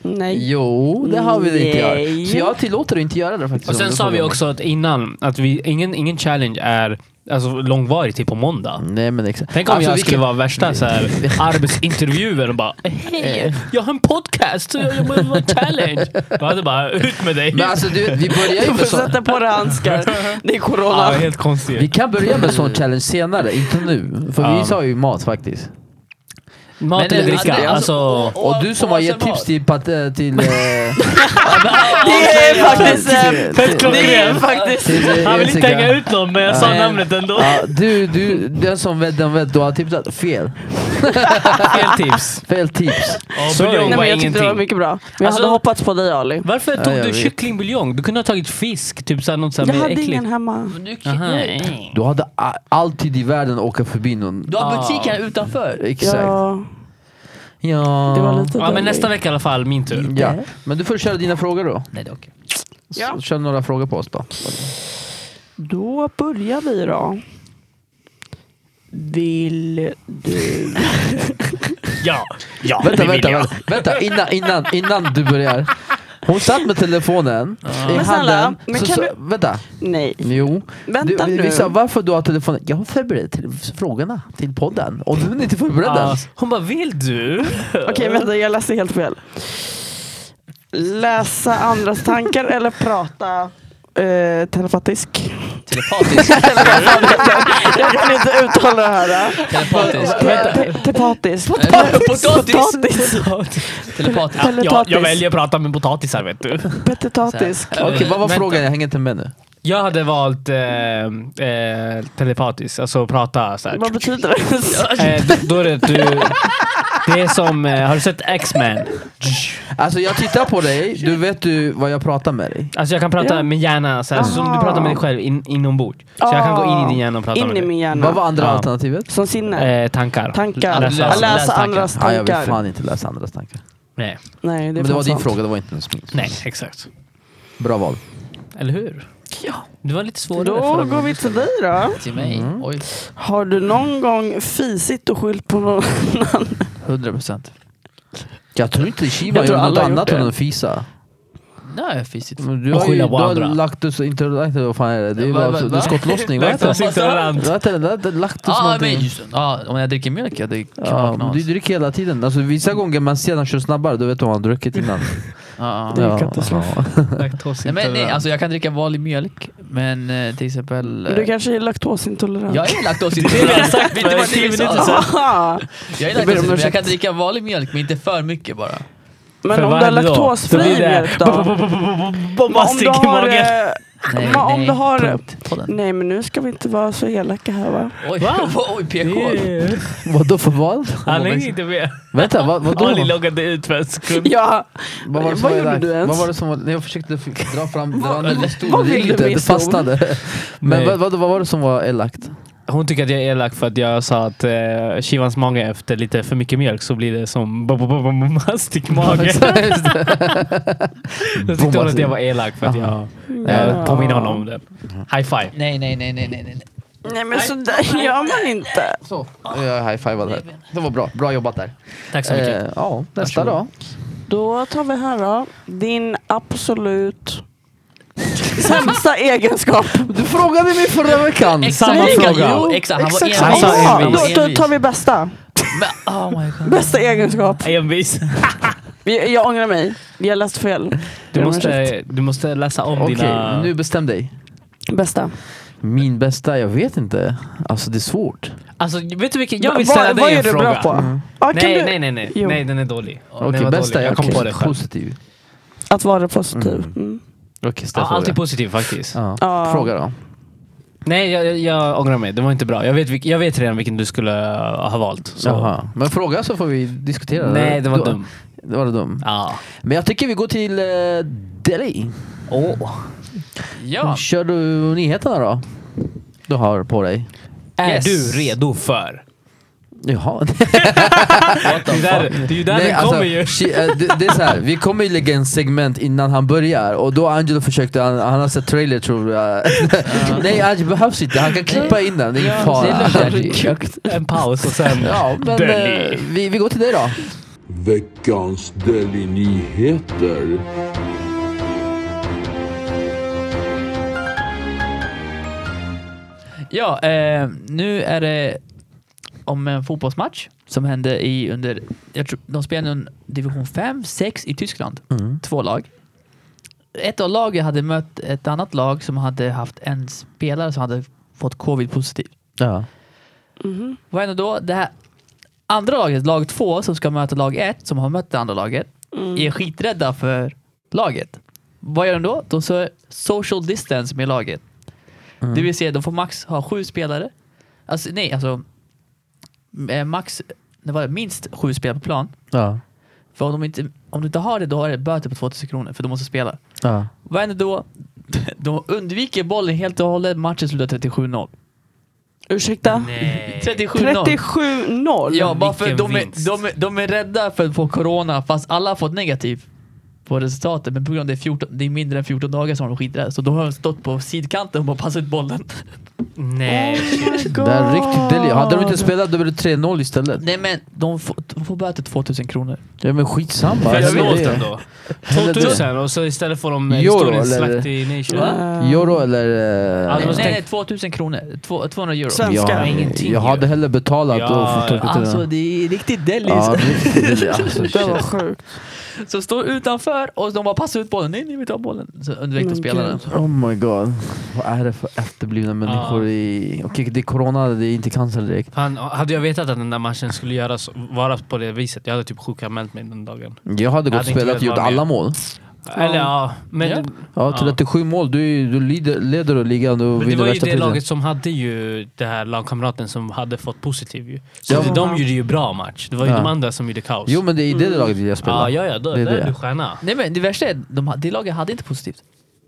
Speaker 1: Nej.
Speaker 2: Jo, det har vi det inte
Speaker 1: Nej.
Speaker 2: gjort. Så jag tillåter dig inte göra det faktiskt.
Speaker 4: Och
Speaker 2: om
Speaker 4: sen
Speaker 2: du
Speaker 4: sa
Speaker 2: frågar
Speaker 4: vi
Speaker 2: mig.
Speaker 4: också att innan, att vi, ingen, ingen challenge är alltså, långvarig, typ på måndag.
Speaker 2: Nej men exakt.
Speaker 4: Tänk om
Speaker 2: Alltså,
Speaker 4: jag
Speaker 2: vi
Speaker 4: skulle
Speaker 2: kan-
Speaker 4: vara värsta
Speaker 2: <laughs>
Speaker 4: så här, arbetsintervjuer och bara Hej,
Speaker 5: Eh,
Speaker 4: jag har en podcast och jag jobbar med
Speaker 1: <laughs>
Speaker 4: en challenge. Jag hade bara ut med dig.
Speaker 2: Men alltså du, vet, vi börjar
Speaker 4: <laughs>
Speaker 2: ju
Speaker 1: Du får
Speaker 2: med sånt.
Speaker 1: sätta på dig handskar. Det är
Speaker 4: Ja,
Speaker 1: corona.
Speaker 4: helt
Speaker 2: Vi
Speaker 4: konstigt.
Speaker 2: kan börja med
Speaker 4: <laughs>
Speaker 2: sån challenge senare, inte nu. För vi
Speaker 4: Ja.
Speaker 2: sa ju mat faktiskt.
Speaker 4: Mat
Speaker 5: Men
Speaker 4: eller
Speaker 5: det-
Speaker 4: dricka.
Speaker 5: det-
Speaker 4: Alltså,
Speaker 2: Och, du som har gett tips till... Pat, eh, till, eh,
Speaker 1: <laughs> Det är faktiskt... eh,
Speaker 4: Fett
Speaker 1: Det är
Speaker 4: klockrent.
Speaker 1: faktiskt...
Speaker 2: till eh,
Speaker 4: Han vill inte
Speaker 2: Jessica.
Speaker 4: hänga ut någon men jag sa
Speaker 2: Nej.
Speaker 4: namnet ändå.
Speaker 2: Ja, du, du, den som vet, den vet. Du har tipsat fel.
Speaker 4: Fel tips.
Speaker 2: Fel tips.
Speaker 4: Och
Speaker 2: Sorry.
Speaker 4: buljong
Speaker 1: Nej,
Speaker 4: var
Speaker 1: men jag tyckte det var
Speaker 4: ingenting.
Speaker 1: mycket bra. Men jag
Speaker 4: Alltså-
Speaker 1: hade hoppats på dig Ali.
Speaker 4: Varför
Speaker 2: Ja,
Speaker 4: tog
Speaker 2: jag
Speaker 4: du
Speaker 2: vet.
Speaker 4: kycklingbuljong? Du kunde ha tagit fisk, typ såhär något såhär
Speaker 1: Jag
Speaker 4: mer
Speaker 1: hade
Speaker 4: äckligt.
Speaker 1: ingen hemma.
Speaker 5: Men du,
Speaker 4: Aha.
Speaker 2: Du hade a- alltid i världen åka förbi någon.
Speaker 5: du har
Speaker 4: Ah.
Speaker 5: butiken här utanför.
Speaker 2: Exakt. Ja.
Speaker 1: Ja, det var lite
Speaker 4: Ja men
Speaker 1: dåligt.
Speaker 4: nästa vecka i alla fall, min tur.
Speaker 2: Ja. Men du får köra dina frågor då.
Speaker 5: Nej, det är okej.
Speaker 1: Ja.
Speaker 2: Så, kör några frågor på oss då.
Speaker 1: Då börjar vi då. Vill du...
Speaker 4: Ja, ja
Speaker 2: Vänta,
Speaker 4: det vill
Speaker 2: vänta,
Speaker 4: jag.
Speaker 2: vänta, vänta. Innan, innan, innan du börjar. Hon satt med telefonen i
Speaker 1: Men snälla,
Speaker 2: handen.
Speaker 1: men
Speaker 2: så,
Speaker 1: kan
Speaker 2: så,
Speaker 1: du-
Speaker 2: Vänta.
Speaker 1: Nej.
Speaker 2: Jo.
Speaker 1: Vänta
Speaker 2: du, vi-
Speaker 1: nu.
Speaker 2: vi sa, varför du har telefonen? Jag har förberett till frågorna till podden. Och du är inte förberedd
Speaker 4: Ja.
Speaker 2: ens.
Speaker 4: Hon bara, vill du?
Speaker 1: Okej, vänta jag läste helt fel. Läsa andras tankar eller prata eh, telepatisk? <laughs>
Speaker 5: <laughs> Telepatisk.
Speaker 1: Jag kan inte uttala det här. eh.
Speaker 5: Telepatisk.
Speaker 1: Te- te- Tepatisk.
Speaker 5: Potatis.
Speaker 1: Potatis.
Speaker 5: Telepatisk.
Speaker 1: Eller
Speaker 4: jag, jag
Speaker 1: tatis.
Speaker 4: väljer att prata med potatisar vet du.
Speaker 1: Petitatisk.
Speaker 5: Så här.
Speaker 2: Okej, vad var
Speaker 4: Vänta.
Speaker 2: frågan? Jag hänger inte med nu.
Speaker 4: Jag hade valt eh, eh, telepatisk, alltså prata såhär.
Speaker 1: Vad betyder det?
Speaker 4: Eh, d- då är det att du... Det är som, eh, har du sett X-Men?
Speaker 2: Alltså jag tittar på dig, du vet du vad jag pratar med dig.
Speaker 4: Alltså jag kan prata
Speaker 1: Ja.
Speaker 4: med hjärnan, såhär, så
Speaker 1: Aha.
Speaker 4: du pratar med dig själv in, inombords. Så jag kan gå in i din hjärna och prata
Speaker 1: In
Speaker 4: med
Speaker 1: i
Speaker 4: dig.
Speaker 1: min
Speaker 2: Vad var
Speaker 1: hjärna.
Speaker 2: andra
Speaker 4: Ja.
Speaker 2: alternativet?
Speaker 1: Som sinne.
Speaker 4: Eh, tankar.
Speaker 1: Tankar.
Speaker 4: Läsa.
Speaker 1: Läsa,
Speaker 5: Läsa tankar.
Speaker 1: andras
Speaker 2: Ja, jag vill
Speaker 1: tankar.
Speaker 2: fan inte läsa andras tankar.
Speaker 4: Nej.
Speaker 1: Nej, det, är
Speaker 2: Men det var
Speaker 1: fan
Speaker 2: din
Speaker 1: sant.
Speaker 2: fråga, det var inte ens min.
Speaker 4: Nej, exakt.
Speaker 2: Bra val.
Speaker 4: Eller hur?
Speaker 1: Ja.
Speaker 4: Det var lite svårare förra
Speaker 1: Då går vi
Speaker 4: gången.
Speaker 1: till dig då.
Speaker 5: Till mig. Oj.
Speaker 1: Har du någon gång fisit och skyllt på någon?
Speaker 5: 100 procent.
Speaker 2: Jag tror inte Shiba
Speaker 1: Jag tror
Speaker 2: gjorde något
Speaker 1: alla har gjort
Speaker 2: annat
Speaker 1: det.
Speaker 2: än att fisa.
Speaker 5: Nej, fisigt.
Speaker 2: Men du
Speaker 4: Och
Speaker 2: har ju du
Speaker 4: skylla på
Speaker 2: har
Speaker 4: andra.
Speaker 2: lactus intolerant, vad fan är det? Det är,
Speaker 5: Va-
Speaker 2: bara,
Speaker 5: va-
Speaker 2: så- det är
Speaker 5: va?
Speaker 2: skottlossning,
Speaker 4: <laughs>
Speaker 2: vad heter det?
Speaker 4: Laktosintolerant.
Speaker 1: <laughs>
Speaker 2: Vad heter det? Det heter Lactus
Speaker 5: Ja, Ah, men
Speaker 2: någonting.
Speaker 5: just Ja, om jag dricker mjölk, jag dricker
Speaker 2: Ja, men du
Speaker 5: knas.
Speaker 2: dricker hela tiden. Alltså, vissa gånger man ser att han kör snabbare, då vet man vad han har druckit innan.
Speaker 5: Ja,
Speaker 1: Det
Speaker 5: ja.
Speaker 1: är katastrof.
Speaker 2: ja.
Speaker 5: Ah, Nej, men nej,
Speaker 4: Laktosintolerant.
Speaker 5: alltså jag kan dricka vanlig mjölk, men eh, till exempel... eh,
Speaker 1: Du kanske är laktosintolerant?
Speaker 5: Jag är laktosintolerant. Vet du
Speaker 4: för
Speaker 5: vad det
Speaker 4: tio
Speaker 5: är vi
Speaker 4: minuter sedan.
Speaker 5: sa?
Speaker 1: Aha.
Speaker 5: Jag
Speaker 1: Jag
Speaker 5: är
Speaker 1: ber om
Speaker 5: laktosintolerant, jag
Speaker 1: ursäkt.
Speaker 5: kan dricka vanlig mjölk, men inte för mycket bara.
Speaker 1: <laughs> Men
Speaker 4: För
Speaker 1: om
Speaker 4: vad
Speaker 1: du har
Speaker 4: händer då? Då
Speaker 1: laktosfri
Speaker 4: blir det- <laughs>
Speaker 1: mjölk då? Om du
Speaker 4: Bombastic i
Speaker 1: har...
Speaker 4: magen.
Speaker 1: eh,
Speaker 5: Nej,
Speaker 1: Men om
Speaker 5: nej,
Speaker 1: du har-
Speaker 5: punkt. Podden.
Speaker 1: Nej men nu ska vi inte vara så elaka här va?
Speaker 5: Oj,
Speaker 4: Va?
Speaker 5: <laughs> oj, PK.
Speaker 2: Vadå för vad? liksom?
Speaker 4: Han hänger inte med.
Speaker 2: Vänta, vad, vadå?
Speaker 4: Ali loggade ut för en sekund.
Speaker 1: Ja,
Speaker 2: Vad var det som
Speaker 1: Vad
Speaker 2: var
Speaker 1: gjorde
Speaker 2: elakt?
Speaker 1: du ens?
Speaker 2: Vad var det som var, nej, jag försökte f- dra fram den andra
Speaker 1: vad
Speaker 2: pistolen, det
Speaker 1: vill
Speaker 2: gick
Speaker 1: du
Speaker 2: inte,
Speaker 1: med
Speaker 2: det
Speaker 1: pistolen?
Speaker 2: fastnade. Men
Speaker 4: Nej.
Speaker 2: vad, vad, vad var det som var elakt?
Speaker 4: <laughs> Hon tycker att jag är elak för att jag sa att eh, Shivans mage efter lite för mycket mjölk så blir det som <laughs> bombastic-mage.
Speaker 2: <laughs> Just det.
Speaker 4: Då tyckte hon att jag var elak för att jag, jag påminner honom om det. High five.
Speaker 5: Nej, nej, nej, nej, nej, nej.
Speaker 1: Nej men sådär gör man inte.
Speaker 2: Så, jag high-fivade här. Det var bra, bra jobbat där.
Speaker 4: Tack så mycket.
Speaker 2: Eh, ja, nästa då.
Speaker 1: Då tar vi här då. Din absolut
Speaker 4: <laughs>
Speaker 1: sämsta egenskap.
Speaker 2: Du frågade mig förra
Speaker 5: <laughs>
Speaker 2: veckan!
Speaker 5: Exakt,
Speaker 4: samma
Speaker 5: lika-
Speaker 4: fråga.
Speaker 5: Jo, exakt, han
Speaker 1: Exakt
Speaker 5: var
Speaker 4: Han
Speaker 5: envis.
Speaker 1: Ja,
Speaker 4: sa envis.
Speaker 1: Då, då tar vi bästa.
Speaker 5: Men, oh my god.
Speaker 1: Bästa egenskap.
Speaker 4: Envis.
Speaker 1: Jag, jag ångrar mig. Jag läste fel.
Speaker 4: Du måste, du måste läsa om
Speaker 2: Okej,
Speaker 4: dina...
Speaker 2: nu bestäm dig.
Speaker 1: Bästa.
Speaker 2: Min bästa, jag vet inte. Alltså det är svårt.
Speaker 4: Alltså, vet du vilken? Jag vill
Speaker 1: Vad-
Speaker 4: ställa
Speaker 1: vad
Speaker 4: dig
Speaker 1: är
Speaker 4: en
Speaker 1: du
Speaker 4: fråga.
Speaker 1: bra på? Ja, kan
Speaker 4: Nej,
Speaker 1: du,
Speaker 4: nej, nej, nej.
Speaker 1: Jo.
Speaker 4: Nej, den är dålig. Den
Speaker 2: Okej,
Speaker 4: var
Speaker 2: bästa,
Speaker 4: dålig.
Speaker 2: jag
Speaker 4: Jag kom på det själv.
Speaker 2: positiv.
Speaker 1: Att vara positiv. Mm.
Speaker 2: Okej, okay, ställ
Speaker 4: Ja, alltid
Speaker 2: fråga.
Speaker 4: positiv faktiskt.
Speaker 2: Ja.
Speaker 1: Ja.
Speaker 2: Fråga då.
Speaker 4: Nej, jag, jag, jag ångrar mig. Det var inte bra. Jag vet, vilk- jag vet redan vilken du skulle eh, ha valt. Så.
Speaker 2: Jaha. Men fråga så får vi diskutera.
Speaker 4: Nej, det var
Speaker 2: Då-
Speaker 4: dum.
Speaker 2: Det var dum.
Speaker 4: Ja.
Speaker 2: Men jag tycker vi går till eh, Delhi.
Speaker 4: Åh. Mm.
Speaker 5: Ja.
Speaker 2: Kör du nyheterna då? Du har på dig.
Speaker 4: Är
Speaker 5: Yes.
Speaker 4: du redo för?
Speaker 2: Jaha.
Speaker 4: Det är där- det är ju där
Speaker 2: Nej,
Speaker 4: den
Speaker 2: alltså,
Speaker 4: kommer ju.
Speaker 2: shi- eh, det, det är så här, vi kommer ju lägga en segment innan han börjar och då Angelo försökte, han, han har sett trailer tror jag. <laughs> Nej Angelo behövs inte, han kan klippa in den, det är ingen
Speaker 5: det
Speaker 2: fara.
Speaker 5: är
Speaker 4: En paus och sen...
Speaker 2: Ja, men
Speaker 4: Delhi.
Speaker 2: eh, vi, vi går till dig då.
Speaker 6: Veckans Deli-nyheter.
Speaker 5: Ja, eh, nu är det om en fotbollsmatch som hände i under, jag tror, de spelade under division 5, 6 i Tyskland. Två lag. Ett av lagen hade mött ett annat lag som hade haft en spelare som hade fått covid positivt.
Speaker 2: Ja.
Speaker 1: Mm.
Speaker 5: Vad händer då? Det här andra laget, lag två, som ska möta lag ett, som har mött det andra laget,
Speaker 1: Mm.
Speaker 5: är skiträdda för laget. Vad gör de då? De så social distance med laget.
Speaker 2: Mm.
Speaker 5: Det vill säga, de får max ha sju spelare. Alltså, nej, alltså eh, max, det var minst sju spelare på plan.
Speaker 2: Ja.
Speaker 5: För om, de inte, om du inte har det, då har det böter på 2000 kronor, för de måste spela.
Speaker 2: Ja.
Speaker 5: Vad händer då? <laughs> De undviker bollen helt och hållet. Matchen slutar 37-0.
Speaker 1: Ursäkta?
Speaker 4: <laughs>
Speaker 5: 37-0.
Speaker 1: 37-0?
Speaker 5: Ja, bara för
Speaker 4: Vilken
Speaker 5: de är,
Speaker 4: vinst.
Speaker 5: de, är, de är rädda för att få corona fast alla har fått negativ på resultatet. Men på grund av det är, 14, det är mindre än 14 dagar som de skiträdda. Så då har de stått på sidkanten och bara passat ut bollen.
Speaker 4: Nej.
Speaker 1: Oh
Speaker 2: Det är riktigt Delhi. Hade de inte spelat då blev det 3-0 istället.
Speaker 5: Nej men de får, de får böter 2000 kronor.
Speaker 2: Ja men skitsamma.
Speaker 4: Fett
Speaker 2: Alltså,
Speaker 4: snålt
Speaker 2: det är-
Speaker 4: ändå.
Speaker 2: Hellre det.
Speaker 4: 2000 och så istället får de eh,
Speaker 2: Euro,
Speaker 4: historiens
Speaker 2: eller?
Speaker 4: slakt i nation.
Speaker 2: Euro eller... eh,
Speaker 4: Ja, det
Speaker 5: Nej,
Speaker 4: var
Speaker 5: nej,
Speaker 4: tänk-
Speaker 5: nej 2000 kronor. Två, 200 euro.
Speaker 1: Svenska.
Speaker 2: Ja,
Speaker 4: Ingenting
Speaker 2: jag
Speaker 4: ju.
Speaker 2: hade hellre betalat
Speaker 4: Ja,
Speaker 2: och fått åka till
Speaker 5: Alltså
Speaker 2: den.
Speaker 5: det är riktigt delis.
Speaker 2: Ja,
Speaker 5: <laughs>
Speaker 2: riktigt Delhi. Alltså,
Speaker 1: Det var
Speaker 2: shit.
Speaker 1: sjukt.
Speaker 5: Så står utanför och de bara passar ut bollen. Nej, ni vill ta bollen. Så undvek de
Speaker 1: Men
Speaker 5: spelarna.
Speaker 1: gud.
Speaker 2: Oh my god. Vad är det för efterblivna människor i... Okej, det är corona, det är inte cancer direkt.
Speaker 4: Fan, hade jag vetat att den där matchen skulle göras, vara på det viset, jag hade typ sjukanmält mig den dagen.
Speaker 2: Jag hade gått
Speaker 4: hade
Speaker 2: och
Speaker 4: inte
Speaker 2: spelat
Speaker 4: velat
Speaker 2: och gjort
Speaker 4: vara med.
Speaker 2: alla mål.
Speaker 4: Eller ja, men,
Speaker 5: Ja.
Speaker 2: Ja, 37 mål. Du, är ju- du lider, leder och ligan och
Speaker 4: men det
Speaker 2: vinner
Speaker 4: var ju
Speaker 2: värsta
Speaker 4: det
Speaker 2: priset.
Speaker 4: laget som hade ju den här lagkamraten som hade fått positiv ju. Så
Speaker 2: Ja.
Speaker 4: de gjorde ju bra match. Det var ju
Speaker 2: Ja.
Speaker 4: de andra som gjorde kaos.
Speaker 2: Jo, men det är i det laget jag spelar.
Speaker 4: ja, ja, ja, då,
Speaker 2: Det är
Speaker 4: där
Speaker 2: det.
Speaker 4: är du stjärna.
Speaker 5: Nej men det värsta är att de, ha- det laget hade inte positivt.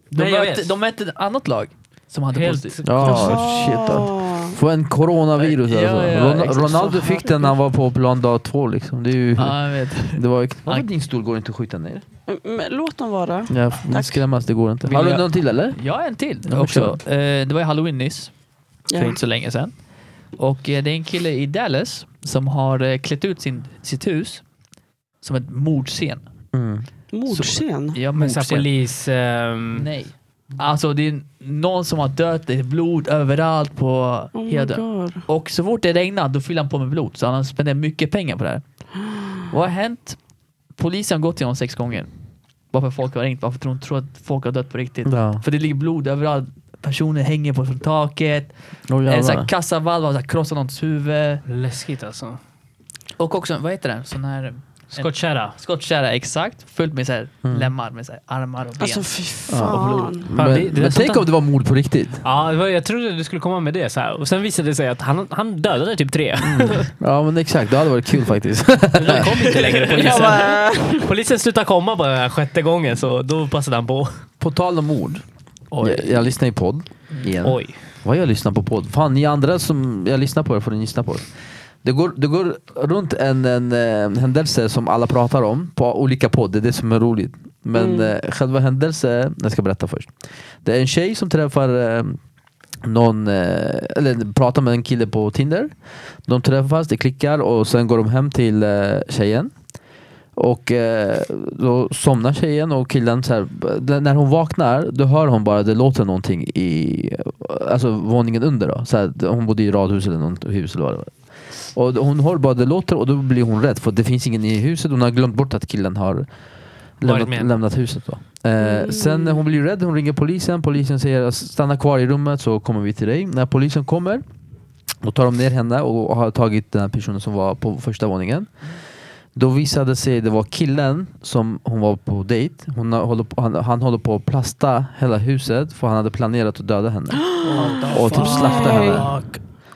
Speaker 5: De,
Speaker 4: Nej, jag
Speaker 5: mötte,
Speaker 4: vet.
Speaker 5: de mötte ett annat lag som hade positivt.
Speaker 4: Helt...
Speaker 2: Ja, shit. Alltså.
Speaker 1: Ah.
Speaker 2: Få en coronavirus
Speaker 5: Ja,
Speaker 2: alltså.
Speaker 5: ja,
Speaker 2: Ron-
Speaker 5: exakt.
Speaker 2: Ronaldo fick den när han var på plan dag två liksom. Det är ju...
Speaker 5: Ja, jag vet.
Speaker 2: Det var ju... Varför din stol går inte att skjuta ner?
Speaker 1: Men låt dem vara.
Speaker 2: Jag
Speaker 1: Tack.
Speaker 2: skrämmas, det går inte.
Speaker 5: Vill
Speaker 2: Har du
Speaker 5: jag-
Speaker 2: någon till eller?
Speaker 5: Jag har en till
Speaker 2: Ja,
Speaker 5: också.
Speaker 2: kör.
Speaker 5: Eh, det var ju halloween nyss,
Speaker 1: Ja.
Speaker 5: för inte så länge sedan. Och eh, det är en kille i Dallas som har eh, klätt ut sin, sitt hus som ett mordscen.
Speaker 1: Mordscen?
Speaker 5: Ja,
Speaker 4: Men såhär
Speaker 5: mordscen.
Speaker 4: polis... ehm,
Speaker 5: Nej. Alltså det är någon som har dött, det är blod överallt på
Speaker 1: Oh my
Speaker 5: heden.
Speaker 1: god.
Speaker 5: Och så fort det regnar då fyller han på med blod. Så han har spenderat mycket pengar på det här. Vad har hänt? Polisen har gått till honom sex gånger. Varför folk har ringt, varför tror de tror att folk har dött på riktigt.
Speaker 2: Ja.
Speaker 5: För det ligger blod överallt. Personer hänger på från taket.
Speaker 2: Oh,
Speaker 5: En sån här kassavalv har så här krossat någons huvud.
Speaker 4: Läskigt alltså.
Speaker 5: Och också, vad heter det? Sån här
Speaker 4: Skottkärra.
Speaker 5: skottkärra, exakt. Fullt med så här lemmar med så här armar och ben.
Speaker 1: Alltså fy
Speaker 2: Ja.
Speaker 1: fan.
Speaker 2: Men,
Speaker 4: Fan, det- det är
Speaker 2: men
Speaker 4: sånt
Speaker 2: tänk
Speaker 4: där-
Speaker 2: om det var mord på riktigt.
Speaker 4: Ja, det var- jag trodde du skulle komma med det. Så här. Och sen visade det sig att han, han dödade typ tre.
Speaker 2: Mm.
Speaker 4: <laughs>
Speaker 2: Ja men exakt, det hade varit kul faktiskt. <laughs>
Speaker 4: De kom inte längre
Speaker 1: Jag
Speaker 4: polisen.
Speaker 1: bara,
Speaker 4: Polisen slutade komma bara den här sjätte gången så då passade han på.
Speaker 2: på tal om mord. Jag, jag lyssnar i podd. Igen.
Speaker 4: Oj.
Speaker 2: Vad jag lyssnar på podd? Fan ni andra som jag lyssnar på det får ni lyssna på det. Det går, det går runt en, en eh, händelse som alla pratar om på olika podd, det är det som är roligt. Men eh, själva händelsen, jag ska berätta först. Det är en tjej som träffar eh, någon, eh, eller pratar med en kille på Tinder. De träffas, det klickar och sen går de hem till eh, tjejen. Och eh, då somnar tjejen och killen så här, d- när hon vaknar då hör hon bara det låter någonting i alltså våningen under då. Så här, hon bodde i radhus eller något hus eller vad det var. Och hon hör bara det låter och då blir hon rädd för det finns ingen i huset. Hon har glömt bort att killen har
Speaker 4: Varit
Speaker 2: lämnat,
Speaker 4: med.
Speaker 2: lämnat huset då. Eh, Sen när hon blir rädd, hon ringer polisen. Polisen säger stanna kvar i rummet så kommer vi till dig. När polisen kommer, då tar de ner henne och har tagit den här personen som var på första våningen. Då visade sig det var killen som hon var på dejt. Hon har- håller på, han, han håller på att plasta hela huset för han hade planerat att
Speaker 1: <gasps>
Speaker 2: döda henne. och typ slakta henne.
Speaker 1: Oh,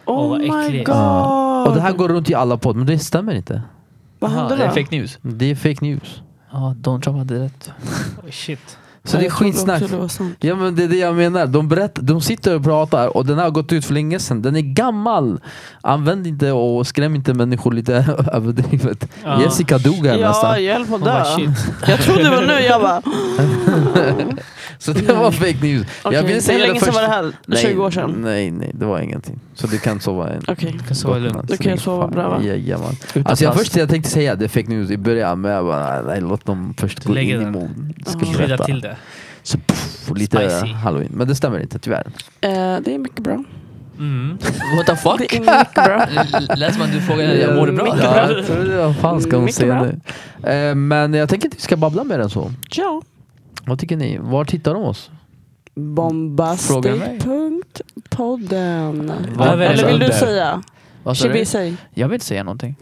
Speaker 4: Åh, vad
Speaker 1: my
Speaker 4: äckligt.
Speaker 1: god.
Speaker 2: Ja. Och det här går runt i alla podd, men det stämmer inte.
Speaker 1: Vad
Speaker 5: Aha,
Speaker 1: hände
Speaker 5: det är
Speaker 1: då?
Speaker 5: fake news.
Speaker 2: Det är fake news.
Speaker 5: Ja, Donald Trump hade rätt.
Speaker 4: Oh, shit.
Speaker 2: Så det är
Speaker 1: Jag trodde också
Speaker 2: skitsnack.
Speaker 1: det var sant.
Speaker 2: Ja men det är det jag menar. De, berättar, de sitter och pratar och den har gått ut för länge sedan. Den är gammal. Använd inte och skräm inte människor lite <laughs> överdrivet.
Speaker 4: Ja.
Speaker 2: Jessica dog här
Speaker 1: Ja,
Speaker 2: nästan.
Speaker 1: jag höll på att
Speaker 4: Hon bara,
Speaker 1: dö.
Speaker 4: shit.
Speaker 1: Jag trodde det var nu, jag <laughs> bara...
Speaker 2: Så det var fake news.
Speaker 1: Okej,
Speaker 2: ville
Speaker 1: hur länge sedan
Speaker 2: först.
Speaker 1: var det här? 20 år sedan?
Speaker 2: Nej, nej, det var ingenting. Så du kan sova en
Speaker 1: Okej.
Speaker 4: kan sova lugnt.
Speaker 1: Då kan jag sova bra, va?
Speaker 2: Jajamän. Alltså jag
Speaker 4: plast.
Speaker 2: först jag tänkte säga att det är fake news i början, men jag bara, nej, låt dem först
Speaker 4: Du
Speaker 2: gå in
Speaker 4: lägger
Speaker 2: i
Speaker 4: den.
Speaker 2: mod. Ska
Speaker 1: Ja.
Speaker 4: Krydda
Speaker 2: berätta.
Speaker 4: till det.
Speaker 2: Så puff, lite
Speaker 4: Spicy.
Speaker 2: halloween. Men det stämmer inte, tyvärr.
Speaker 1: Eh, det är mycket bra.
Speaker 4: Mm.
Speaker 5: What the fuck?
Speaker 1: Det är mycket bra.
Speaker 5: <laughs> L- Lät som att du
Speaker 1: Eh,
Speaker 5: frågade jag mår du bra?
Speaker 1: Mycket
Speaker 2: Ja, jag trodde det. Vad fan ska hon
Speaker 1: Mycket
Speaker 2: säga
Speaker 1: bra.
Speaker 2: nu? Eh, Men jag tänker att vi ska babbla mer än så.
Speaker 1: Ja.
Speaker 2: Vad tycker ni? Var tittar de oss? Fråga mig.
Speaker 1: Bombastic.podden.
Speaker 5: Vad
Speaker 1: Eller vill
Speaker 5: väljer
Speaker 1: du
Speaker 5: du?
Speaker 1: säga?
Speaker 5: Vad sa
Speaker 1: Shibi,
Speaker 5: du?
Speaker 1: säg.
Speaker 5: Jag vill inte säga någonting.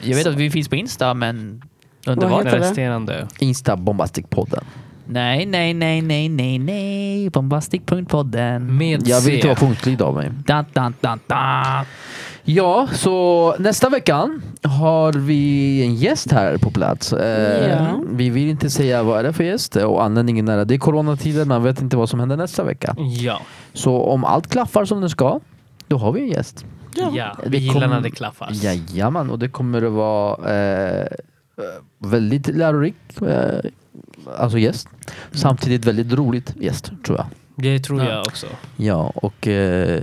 Speaker 5: Jag vet att vi finns på Insta, men... Under
Speaker 1: Vad
Speaker 5: vad?
Speaker 1: heter det?
Speaker 4: Resterande.
Speaker 2: Insta Bombastic-podden.
Speaker 5: Nej, nej, nej, nej, nej, nej. Bombastic.podden.
Speaker 4: Med
Speaker 2: Jag vill
Speaker 4: C.
Speaker 2: inte vara punktlig av mig.
Speaker 5: Dan, dan, dan, dan.
Speaker 2: Ja, så nästa veckan har vi en gäst här på plats. Eh,
Speaker 1: Ja.
Speaker 2: Vi vill inte säga vad är det för gäst och anledningen är att det är coronatider. Man vet inte vad som händer nästa vecka.
Speaker 4: Ja.
Speaker 2: Så om allt klaffar som det ska, då har vi en gäst.
Speaker 1: Ja.
Speaker 4: ja.
Speaker 2: Det
Speaker 4: Vi gillar
Speaker 2: kom-
Speaker 4: när det klaffar.
Speaker 2: Jajamän, och det kommer att vara eh, eh, väldigt lärorik eh, alltså gäst. Samtidigt väldigt roligt gäst, tror jag.
Speaker 4: Det tror
Speaker 5: Ja.
Speaker 4: jag också.
Speaker 2: Ja, och eh,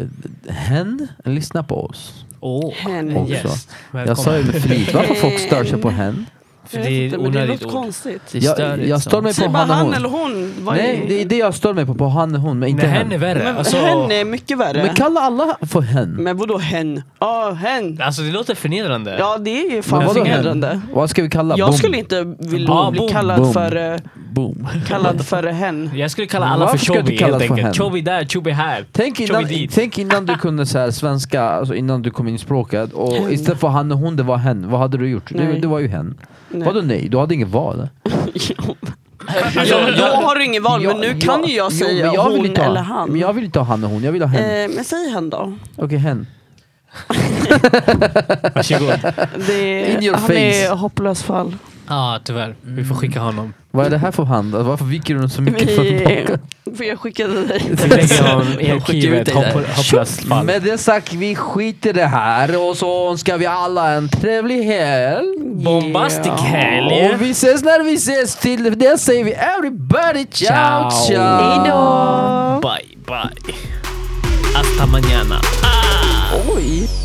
Speaker 2: hen lyssnar på oss.
Speaker 4: Åh,
Speaker 1: Hen.
Speaker 4: en
Speaker 2: Också.
Speaker 4: gäst.
Speaker 2: Jag sa ju
Speaker 4: Välkommen.
Speaker 2: med flit, varför folk stör sig på hen?
Speaker 4: För
Speaker 1: Jag
Speaker 4: det
Speaker 1: vet
Speaker 4: är
Speaker 1: inte, men det
Speaker 4: onödigt
Speaker 1: låter
Speaker 4: ord.
Speaker 1: konstigt.
Speaker 5: Det stör
Speaker 2: Jag,
Speaker 5: liksom.
Speaker 2: jag stör mig på
Speaker 1: Säg bara
Speaker 2: han och
Speaker 1: han
Speaker 2: hon.
Speaker 1: eller hon. Vad
Speaker 2: Nej,
Speaker 1: är-
Speaker 2: det är det jag stör mig på, på han och hon, men inte
Speaker 4: Nej, hen är
Speaker 2: hen.
Speaker 4: värre.
Speaker 1: Men
Speaker 4: alltså,
Speaker 1: hen är mycket värre.
Speaker 2: Men kalla alla för hen.
Speaker 1: Men vadå hen? Ja, hen.
Speaker 4: alltså det låter förnedrande.
Speaker 1: Ja, det är ju fan
Speaker 2: Men vadå
Speaker 1: förnedrande.
Speaker 2: Vad ska vi kalla?
Speaker 1: Jag
Speaker 2: Boom.
Speaker 1: skulle inte vilja
Speaker 4: Boom.
Speaker 1: bli
Speaker 4: Boom.
Speaker 1: kallad
Speaker 2: Boom.
Speaker 1: för, eh,
Speaker 2: Boom.
Speaker 1: kallad för hen.
Speaker 4: Jag skulle kalla alla
Speaker 2: Varför
Speaker 4: för
Speaker 2: ska du
Speaker 4: Chobi
Speaker 2: kalla
Speaker 4: helt
Speaker 2: det för hen?
Speaker 4: enkelt. Chobi där, Chobi här.
Speaker 2: Tänk innan,
Speaker 4: Chobi dit.
Speaker 2: tänk innan du kunde så här svenska, alltså innan du kom in i språket och istället för han och hon, det var hen. Vad hade du gjort? Du,
Speaker 1: Nej.
Speaker 2: det var ju hen.
Speaker 1: Nej.
Speaker 2: Vadå nej? Du hade inget val.
Speaker 1: Ja, men då Alltså, har du inget val, men nu kan ju jag
Speaker 2: jo,
Speaker 1: säga
Speaker 2: men jag vill
Speaker 1: hon
Speaker 2: inte ha-
Speaker 1: eller han.
Speaker 2: Men jag vill inte ha han och hon, jag vill ha hen.
Speaker 1: Eh, men säg hen då.
Speaker 2: Okej, hen.
Speaker 4: Varsågod.
Speaker 5: <laughs>
Speaker 1: Det,
Speaker 2: In your
Speaker 1: han
Speaker 2: face.
Speaker 1: är hopplös fall.
Speaker 4: Ja, tyvärr. Vi får skicka honom.
Speaker 2: Vad är det här för hand? Alltså, Varför viker du så
Speaker 1: <laughs>
Speaker 2: mycket för
Speaker 1: Vi,
Speaker 2: bakom?
Speaker 1: för jag skickade dig.
Speaker 4: Vi lägger
Speaker 5: <laughs>
Speaker 4: honom i
Speaker 5: Mm. Jag skickar ut
Speaker 4: arkivet.
Speaker 5: dig där.
Speaker 4: Hopp, hopplöst fall.
Speaker 2: Med det sagt, vi skiter i det här och så önskar vi alla en trevlig helg.
Speaker 4: Bombastic
Speaker 1: Yeah.
Speaker 4: helg!
Speaker 2: Och vi ses när vi ses. Till det säger vi everybody ciao,
Speaker 4: Ciao.
Speaker 2: ciao.
Speaker 4: Bye, bye. Hasta mañana.
Speaker 1: Oj.